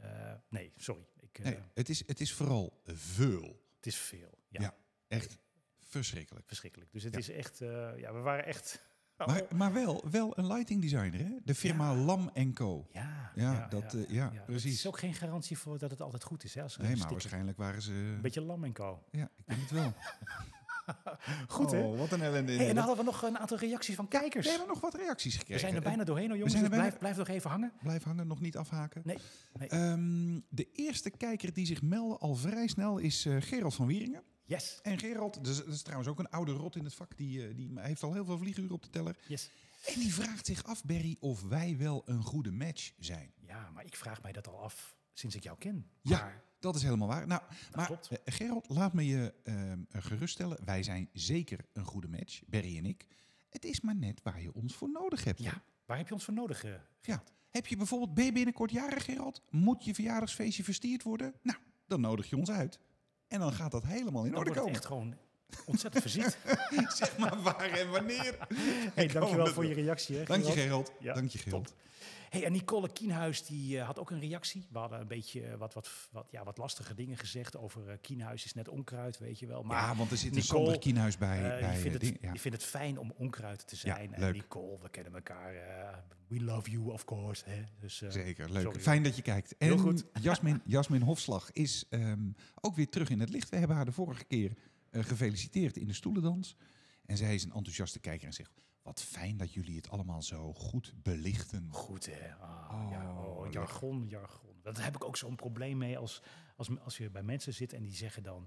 Speaker 2: Eh, nee, sorry. Ik, eh,
Speaker 3: Nee, het, is, het is vooral veul.
Speaker 2: Het is veel. ja.
Speaker 3: Ja. Echt verschrikkelijk.
Speaker 2: verschrikkelijk. Dus het
Speaker 3: Ja.
Speaker 2: is echt, [LAUGHS] eh, ja, we waren echt
Speaker 3: Maar, maar wel, wel een lighting designer, hè? De firma
Speaker 2: Ja.
Speaker 3: Lam Co.
Speaker 2: Ja,
Speaker 3: Ja, dat, eh, ja,
Speaker 2: Het
Speaker 3: precies.
Speaker 2: is ook geen garantie voor dat het altijd goed is. Hè, als er
Speaker 3: Nee,
Speaker 2: een
Speaker 3: maar
Speaker 2: sticker-
Speaker 3: waarschijnlijk waren ze...
Speaker 2: Een beetje lam en co.
Speaker 3: Ja, ik denk het wel.
Speaker 2: [LAUGHS] Goed, hè?
Speaker 3: Oh, wat een ellende.
Speaker 2: eh, Hey, en dan
Speaker 3: inderdaad.
Speaker 2: hadden we nog een aantal reacties van kijkers.
Speaker 3: We hebben nog wat reacties gekregen.
Speaker 2: we zijn er bijna doorheen, hoor, jongens.
Speaker 3: zijn er
Speaker 2: dus
Speaker 3: bijna-
Speaker 2: blijf, blijf nog even hangen.
Speaker 3: Blijf hangen, nog niet afhaken.
Speaker 2: Nee, nee.
Speaker 3: Ehm, de eerste kijker die zich meldde al vrij snel is eh, Gerald van Wieringen.
Speaker 2: Yes,
Speaker 3: En Gerald, dat is, dat is trouwens ook een oude rot in het vak, die, eh, die heeft al heel veel vlieguren op de teller.
Speaker 2: yes.
Speaker 3: En die vraagt zich af, Berry, of wij wel een goede match zijn.
Speaker 2: Ja, maar ik vraag mij dat al af sinds ik jou ken.
Speaker 3: Ja,
Speaker 2: Maar
Speaker 3: dat is helemaal waar. Nou, maar
Speaker 2: klopt.
Speaker 3: eh, Gerald, laat me je ehm, eh, geruststellen. Wij zijn zeker een goede match, Berry en ik. Het is maar net waar je ons voor nodig hebt.
Speaker 2: ja, waar heb je ons voor nodig? eh?
Speaker 3: Ja. Heb je bijvoorbeeld, ben je binnenkort jarig, Gerald? Moet je verjaardagsfeestje verstierd worden? Nou, dan nodig je ons uit. En dan gaat dat helemaal in
Speaker 2: Dan wordt
Speaker 3: orde
Speaker 2: het
Speaker 3: komen.
Speaker 2: echt gewoon ontzettend
Speaker 3: [LAUGHS]
Speaker 2: verziekt.
Speaker 3: Zeg maar waar en
Speaker 2: [LAUGHS]
Speaker 3: wanneer.
Speaker 2: hey, dankjewel
Speaker 3: dat
Speaker 2: voor
Speaker 3: wel.
Speaker 2: je reactie. Hè,
Speaker 3: Dank je,
Speaker 2: Gerard.
Speaker 3: Gerald.
Speaker 2: Ja,
Speaker 3: Dank je, Gerald.
Speaker 2: Hey, en Nicole Kienhuis die, eh, had ook een reactie. We hadden een beetje eh, wat, wat, wat, ja, wat lastige dingen gezegd over eh, Kienhuis is net onkruid, weet je wel. Maar
Speaker 3: ja, want er zit een
Speaker 2: Nicole,
Speaker 3: Sander Kienhuis bij.
Speaker 2: eh,
Speaker 3: bij
Speaker 2: die, vindt
Speaker 3: eh,
Speaker 2: het,
Speaker 3: dingen, ja.
Speaker 2: die vindt het fijn om onkruid te zijn. en
Speaker 3: leuk.
Speaker 2: Nicole, we kennen elkaar. eh, we love you, of course. Hè? Dus, eh,
Speaker 3: Zeker, leuk.
Speaker 2: sorry,
Speaker 3: Fijn dat je kijkt. En
Speaker 2: Heel goed. [LAUGHS]
Speaker 3: Jasmin, Jasmin Hofslag is ehm, ook weer terug in het licht. We hebben haar de vorige keer eh, gefeliciteerd in de stoelendans. En zij is een enthousiaste kijker en zegt... Wat fijn dat jullie het allemaal zo goed belichten.
Speaker 2: Goed, hè? Ah,
Speaker 3: Oh,
Speaker 2: ja, oh,
Speaker 3: leuk.
Speaker 2: jargon, jargon. Dat heb ik ook zo'n probleem mee als, als, als je bij mensen zit en die zeggen dan...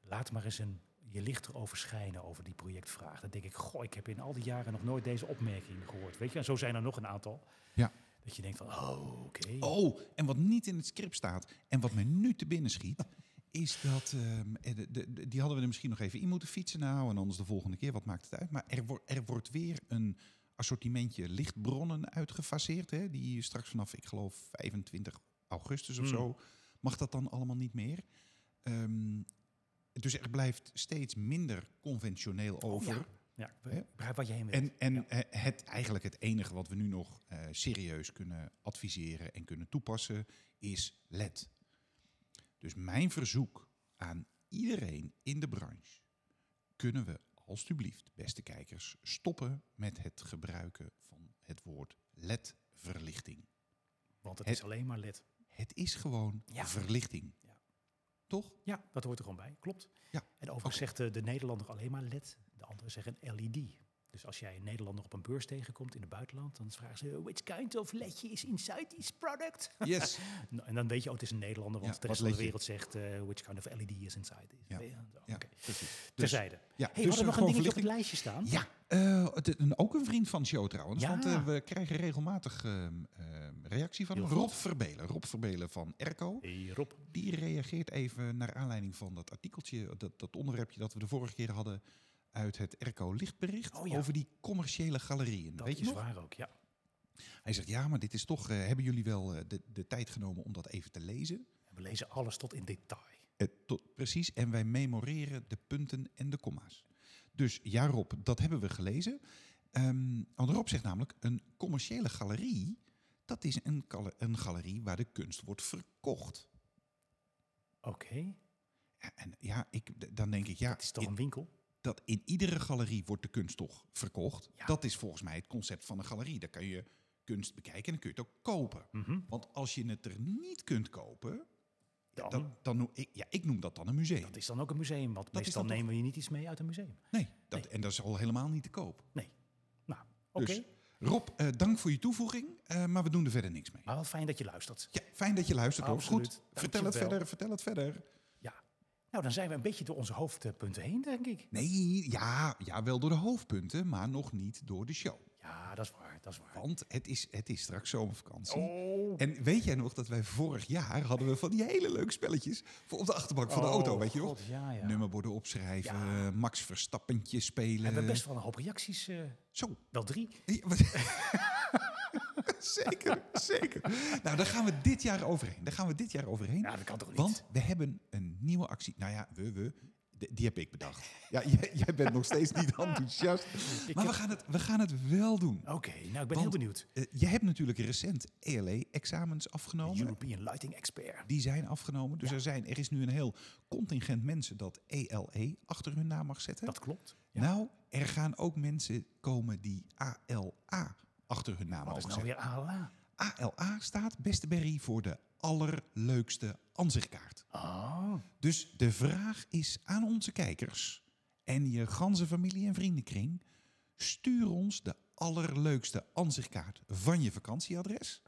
Speaker 2: laat maar eens een, je licht erover schijnen over die projectvraag. Dan denk ik, goh, ik heb in al die jaren nog nooit deze opmerking gehoord. Weet je, en zo zijn er nog een aantal.
Speaker 3: Ja.
Speaker 2: Dat je denkt van, oh, oké.
Speaker 3: Oh, en wat niet in het script staat en wat me nu te binnen
Speaker 2: [LAUGHS]
Speaker 3: schiet, is dat. ehm, eh, de, de- de- die hadden we er misschien nog even in moeten fietsen, nou, en anders de volgende keer, wat maakt het uit? Maar er, wordt er wordt weer een assortimentje lichtbronnen uitgefaseerd, hè, die straks vanaf, ik geloof, 25 augustus of
Speaker 2: Hmm.
Speaker 3: zo, mag dat dan allemaal niet meer. Ehm, dus er blijft steeds minder conventioneel over.
Speaker 2: Oh, Ja, ik begrijp wat je heen wil.
Speaker 3: En, en
Speaker 2: Ja.
Speaker 3: eh, het, eigenlijk het enige wat we nu nog eh, serieus kunnen adviseren en kunnen toepassen is LED. Dus mijn verzoek aan iedereen in de branche. Kunnen we alstublieft, beste kijkers, stoppen met het gebruiken van het woord E LED-verlichting.
Speaker 2: Want het,
Speaker 3: het-
Speaker 2: is alleen maar lid.
Speaker 3: Het is gewoon
Speaker 2: Ja.
Speaker 3: verlichting.
Speaker 2: Ja.
Speaker 3: Toch?
Speaker 2: Ja, dat hoort er gewoon bij, klopt.
Speaker 3: Ja,
Speaker 2: En overigens zegt eh, de Nederlander alleen maar led. De anderen zeggen LED. Dus als jij een Nederlander op een beurs tegenkomt in het buitenland... dan vragen ze, which kind of ledje is inside this product? [LAUGHS]
Speaker 3: Yes.
Speaker 2: Nou, en dan weet je, oh, het is een Nederlander, want
Speaker 3: Ja,
Speaker 2: de
Speaker 3: wat
Speaker 2: rest van de
Speaker 3: LED je?
Speaker 2: wereld zegt eh, which kind of LED is inside. this.
Speaker 3: Ja,
Speaker 2: Eh, zo,
Speaker 3: ja,
Speaker 2: oké.
Speaker 3: precies. Dus-
Speaker 2: Terzijde.
Speaker 3: ja,
Speaker 2: hey,
Speaker 3: dus,
Speaker 2: hadden we nog
Speaker 3: eh,
Speaker 2: een
Speaker 3: gewoon
Speaker 2: dingetje op
Speaker 3: verlichting.
Speaker 2: het lijstje staan?
Speaker 3: Ja, eh, het- een- ook een vriend van de show trouwens.
Speaker 2: Ja.
Speaker 3: Want eh, we krijgen regelmatig ehm, ehm, reactie van
Speaker 2: Heel
Speaker 3: hem.
Speaker 2: goed.
Speaker 3: Rob Verbelen. Rob Verbelen van Erco.
Speaker 2: Hey, Rob.
Speaker 3: Die reageert even naar aanleiding van dat artikeltje, dat, dat onderwerpje dat we de vorige keer hadden uit het Erco Lichtbericht
Speaker 2: Oh ja.
Speaker 3: over die commerciële galerieën.
Speaker 2: Dat
Speaker 3: Weet je
Speaker 2: is
Speaker 3: nog?
Speaker 2: waar ook, ja.
Speaker 3: Hij zegt, ja, maar dit is toch, eh, hebben jullie wel eh, de, de tijd genomen om dat even te lezen?
Speaker 2: We lezen alles tot in detail.
Speaker 3: Eh, tot, precies, en wij memoreren de punten en de comma's. Dus ja, Rob, dat hebben we gelezen. Ehm want Rob zegt namelijk, een commerciële galerie, dat is een, kale- een galerie waar de kunst wordt verkocht.
Speaker 2: Oké,
Speaker 3: Ja, En ja, ik, d- dan denk ik, ja,
Speaker 2: het is toch
Speaker 3: in,
Speaker 2: een winkel?
Speaker 3: dat in iedere galerie wordt de kunst toch verkocht.
Speaker 2: Ja.
Speaker 3: Dat is volgens mij het concept van een galerie. Daar kan je kunst bekijken en dan kun je het ook kopen.
Speaker 2: Mhm.
Speaker 3: Want als je het er niet kunt kopen,
Speaker 2: Dan,
Speaker 3: dan, dan noem ik, ja, ik noem dat dan een museum.
Speaker 2: dat is dan ook een museum, want
Speaker 3: is
Speaker 2: meestal
Speaker 3: dan toch-
Speaker 2: nemen we je niet iets mee uit een museum.
Speaker 3: Nee, dat,
Speaker 2: Nee.
Speaker 3: en dat is al helemaal niet te koop.
Speaker 2: Nee. Nou, oké.
Speaker 3: Dus, Rob, eh, dank voor je toevoeging, eh, maar we doen er verder niks mee.
Speaker 2: Maar wel fijn dat je luistert.
Speaker 3: Ja, fijn dat je luistert, Rob.
Speaker 2: Absoluut.
Speaker 3: Goed,
Speaker 2: Dank
Speaker 3: vertel
Speaker 2: je
Speaker 3: het
Speaker 2: wel.
Speaker 3: verder, vertel het verder.
Speaker 2: Ja. Nou, dan zijn we een beetje door onze hoofdpunten heen, denk ik.
Speaker 3: Nee, ja, ja, wel door de hoofdpunten, maar nog niet door de show.
Speaker 2: Ja, dat is waar, dat is waar.
Speaker 3: Want het is, het is straks zomervakantie.
Speaker 2: Oh.
Speaker 3: En weet jij nog dat wij vorig jaar hadden we van die hele leuke spelletjes voor op de achterbank van de
Speaker 2: Oh,
Speaker 3: auto, weet je nog?
Speaker 2: God, ja, ja.
Speaker 3: Nummerborden opschrijven,
Speaker 2: Ja.
Speaker 3: Max Verstappentje spelen.
Speaker 2: We hebben best wel een hoop reacties, eh,
Speaker 3: Zo,
Speaker 2: wel drie.
Speaker 3: Ja, wat- [LAUGHS] zeker, zeker. Nou, daar gaan we dit jaar overheen. Daar gaan we dit jaar overheen.
Speaker 2: Ja, Nou, dat kan toch niet?
Speaker 3: Want we hebben een nieuwe actie. Nou ja, we, we. D- Die heb ik bedacht. Ja, [LAUGHS] jij, jij bent nog steeds niet
Speaker 2: [LAUGHS]
Speaker 3: enthousiast. Maar we gaan het, we gaan het wel doen.
Speaker 2: Oké, nou ik ben heel
Speaker 3: Want-
Speaker 2: benieuwd.
Speaker 3: Eh, je hebt natuurlijk recent ELE-examens afgenomen.
Speaker 2: European Lighting Expert.
Speaker 3: Die zijn afgenomen. Dus er, zijn, er is nu een heel contingent mensen dat ELE E achter hun naam mag zetten.
Speaker 2: Dat klopt. Ja.
Speaker 3: Nou, er gaan ook mensen komen die ALA achter hun naam
Speaker 2: Wat is
Speaker 3: mogen
Speaker 2: nou
Speaker 3: zetten.
Speaker 2: weer ALA?
Speaker 3: ALA staat, beste Berry, voor de allerleukste ansichtkaart.
Speaker 2: Oh,
Speaker 3: Dus de vraag is aan onze kijkers en je ganse familie en vriendenkring. Stuur ons de allerleukste ansichtkaart van je vakantieadres.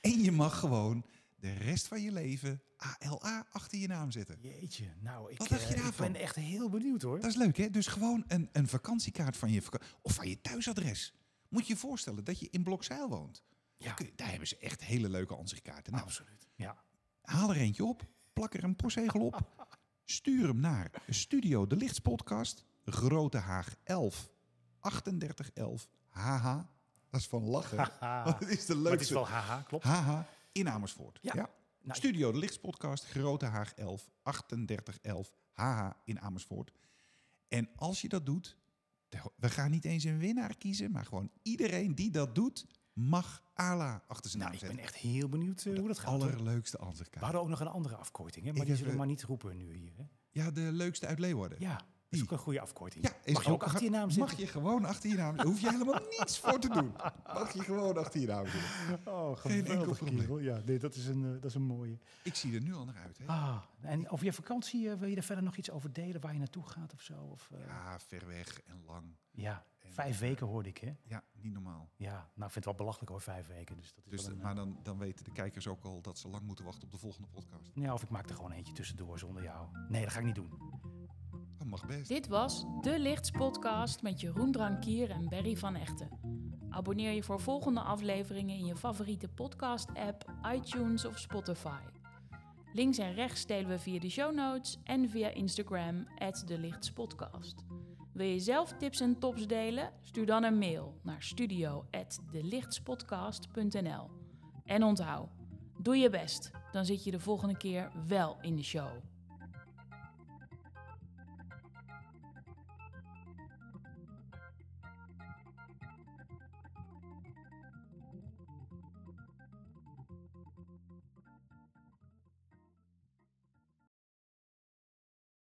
Speaker 3: En je mag gewoon de rest van je leven ALA achter je naam zetten.
Speaker 2: jeetje. Nou, ik,
Speaker 3: Wat dacht je
Speaker 2: eh, ik
Speaker 3: daarvan?
Speaker 2: ben echt heel benieuwd hoor.
Speaker 3: Dat is leuk, hè? Dus gewoon een, een vakantiekaart van je, vaka- of van je thuisadres. Moet je je voorstellen dat je in Blokzeil woont.
Speaker 2: Ja.
Speaker 3: Kun- Daar hebben ze echt hele leuke ansichtkaarten. Nou,
Speaker 2: Absoluut. Ja.
Speaker 3: haal er eentje op, plak er een postzegel op. Stuur hem naar Studio De Lichtspodcast, Grote Haag 11, 3811, HH. Dat is van
Speaker 2: [LAUGHS]
Speaker 3: lachen.
Speaker 2: Haha.
Speaker 3: Dat is de
Speaker 2: Ah, Maar het is
Speaker 3: leukste.
Speaker 2: wel haha, klopt.
Speaker 3: HH in Amersfoort.
Speaker 2: Ja. Nou,
Speaker 3: Studio De Lichtspodcast, Grote Haag 11, 3811, HH in Amersfoort. En als je dat doet, de- we gaan niet eens een winnaar kiezen, maar gewoon iedereen die dat doet, mag ALA achter zijn
Speaker 2: nou,
Speaker 3: naam
Speaker 2: ik ben
Speaker 3: zetten.
Speaker 2: echt heel benieuwd eh, hoe dat gaat. hoor.
Speaker 3: Allerleukste
Speaker 2: We
Speaker 3: ansichtkaart.
Speaker 2: hadden ook nog een andere afkorting, hè? maar
Speaker 3: Ik
Speaker 2: die
Speaker 3: heb,
Speaker 2: zullen we
Speaker 3: eh,
Speaker 2: maar niet roepen nu hier. Hè?
Speaker 3: Ja, de leukste uit Leeuwarden.
Speaker 2: Ja, dat is
Speaker 3: die.
Speaker 2: ook een goede afkorting.
Speaker 3: Ja, is
Speaker 2: Mag je ook achter je naam zitten?
Speaker 3: Mag je gewoon achter je naam Daar hoef je
Speaker 2: [LAUGHS]
Speaker 3: helemaal niets voor te doen. Mag je gewoon achter je naam zitten.
Speaker 2: Oh,
Speaker 3: Geen enkel
Speaker 2: geweldig,
Speaker 3: probleem.
Speaker 2: kerel. Ja, nee, dat is een, eh, dat is een mooie.
Speaker 3: Ik zie er nu al naar uit. Hè?
Speaker 2: Ah, en over je vakantie, eh, wil je er verder nog iets over delen? Waar je naartoe gaat of zo? Of, eh, ja,
Speaker 3: Ja, ver weg en lang.
Speaker 2: vijf weken hoorde ik, hè?
Speaker 3: Ja, niet normaal.
Speaker 2: Ja, nou, ik vind het wel belachelijk hoor, vijf weken. Dus dat is
Speaker 3: Dus,
Speaker 2: wel een, eh,
Speaker 3: maar dan, dan weten de kijkers ook al dat ze lang moeten wachten op de volgende podcast.
Speaker 2: eh, ja, of ik maak er gewoon eentje tussendoor zonder jou. Nee, dat ga ik niet doen.
Speaker 3: Dat mag best.
Speaker 1: Dit was De Lichts Podcast met Jeroen Drankier en Berry van Echten. Abonneer je voor volgende afleveringen in je favoriete podcast-app, iTunes of Spotify. Links en rechts delen we via de show notes en via Instagram, De Lichtspodcast. Wil je zelf tips en tops delen? Stuur dan een mail naar studio.delichtspodcast.nl. En onthoud, doe je best, dan zit je de volgende keer wel in de show.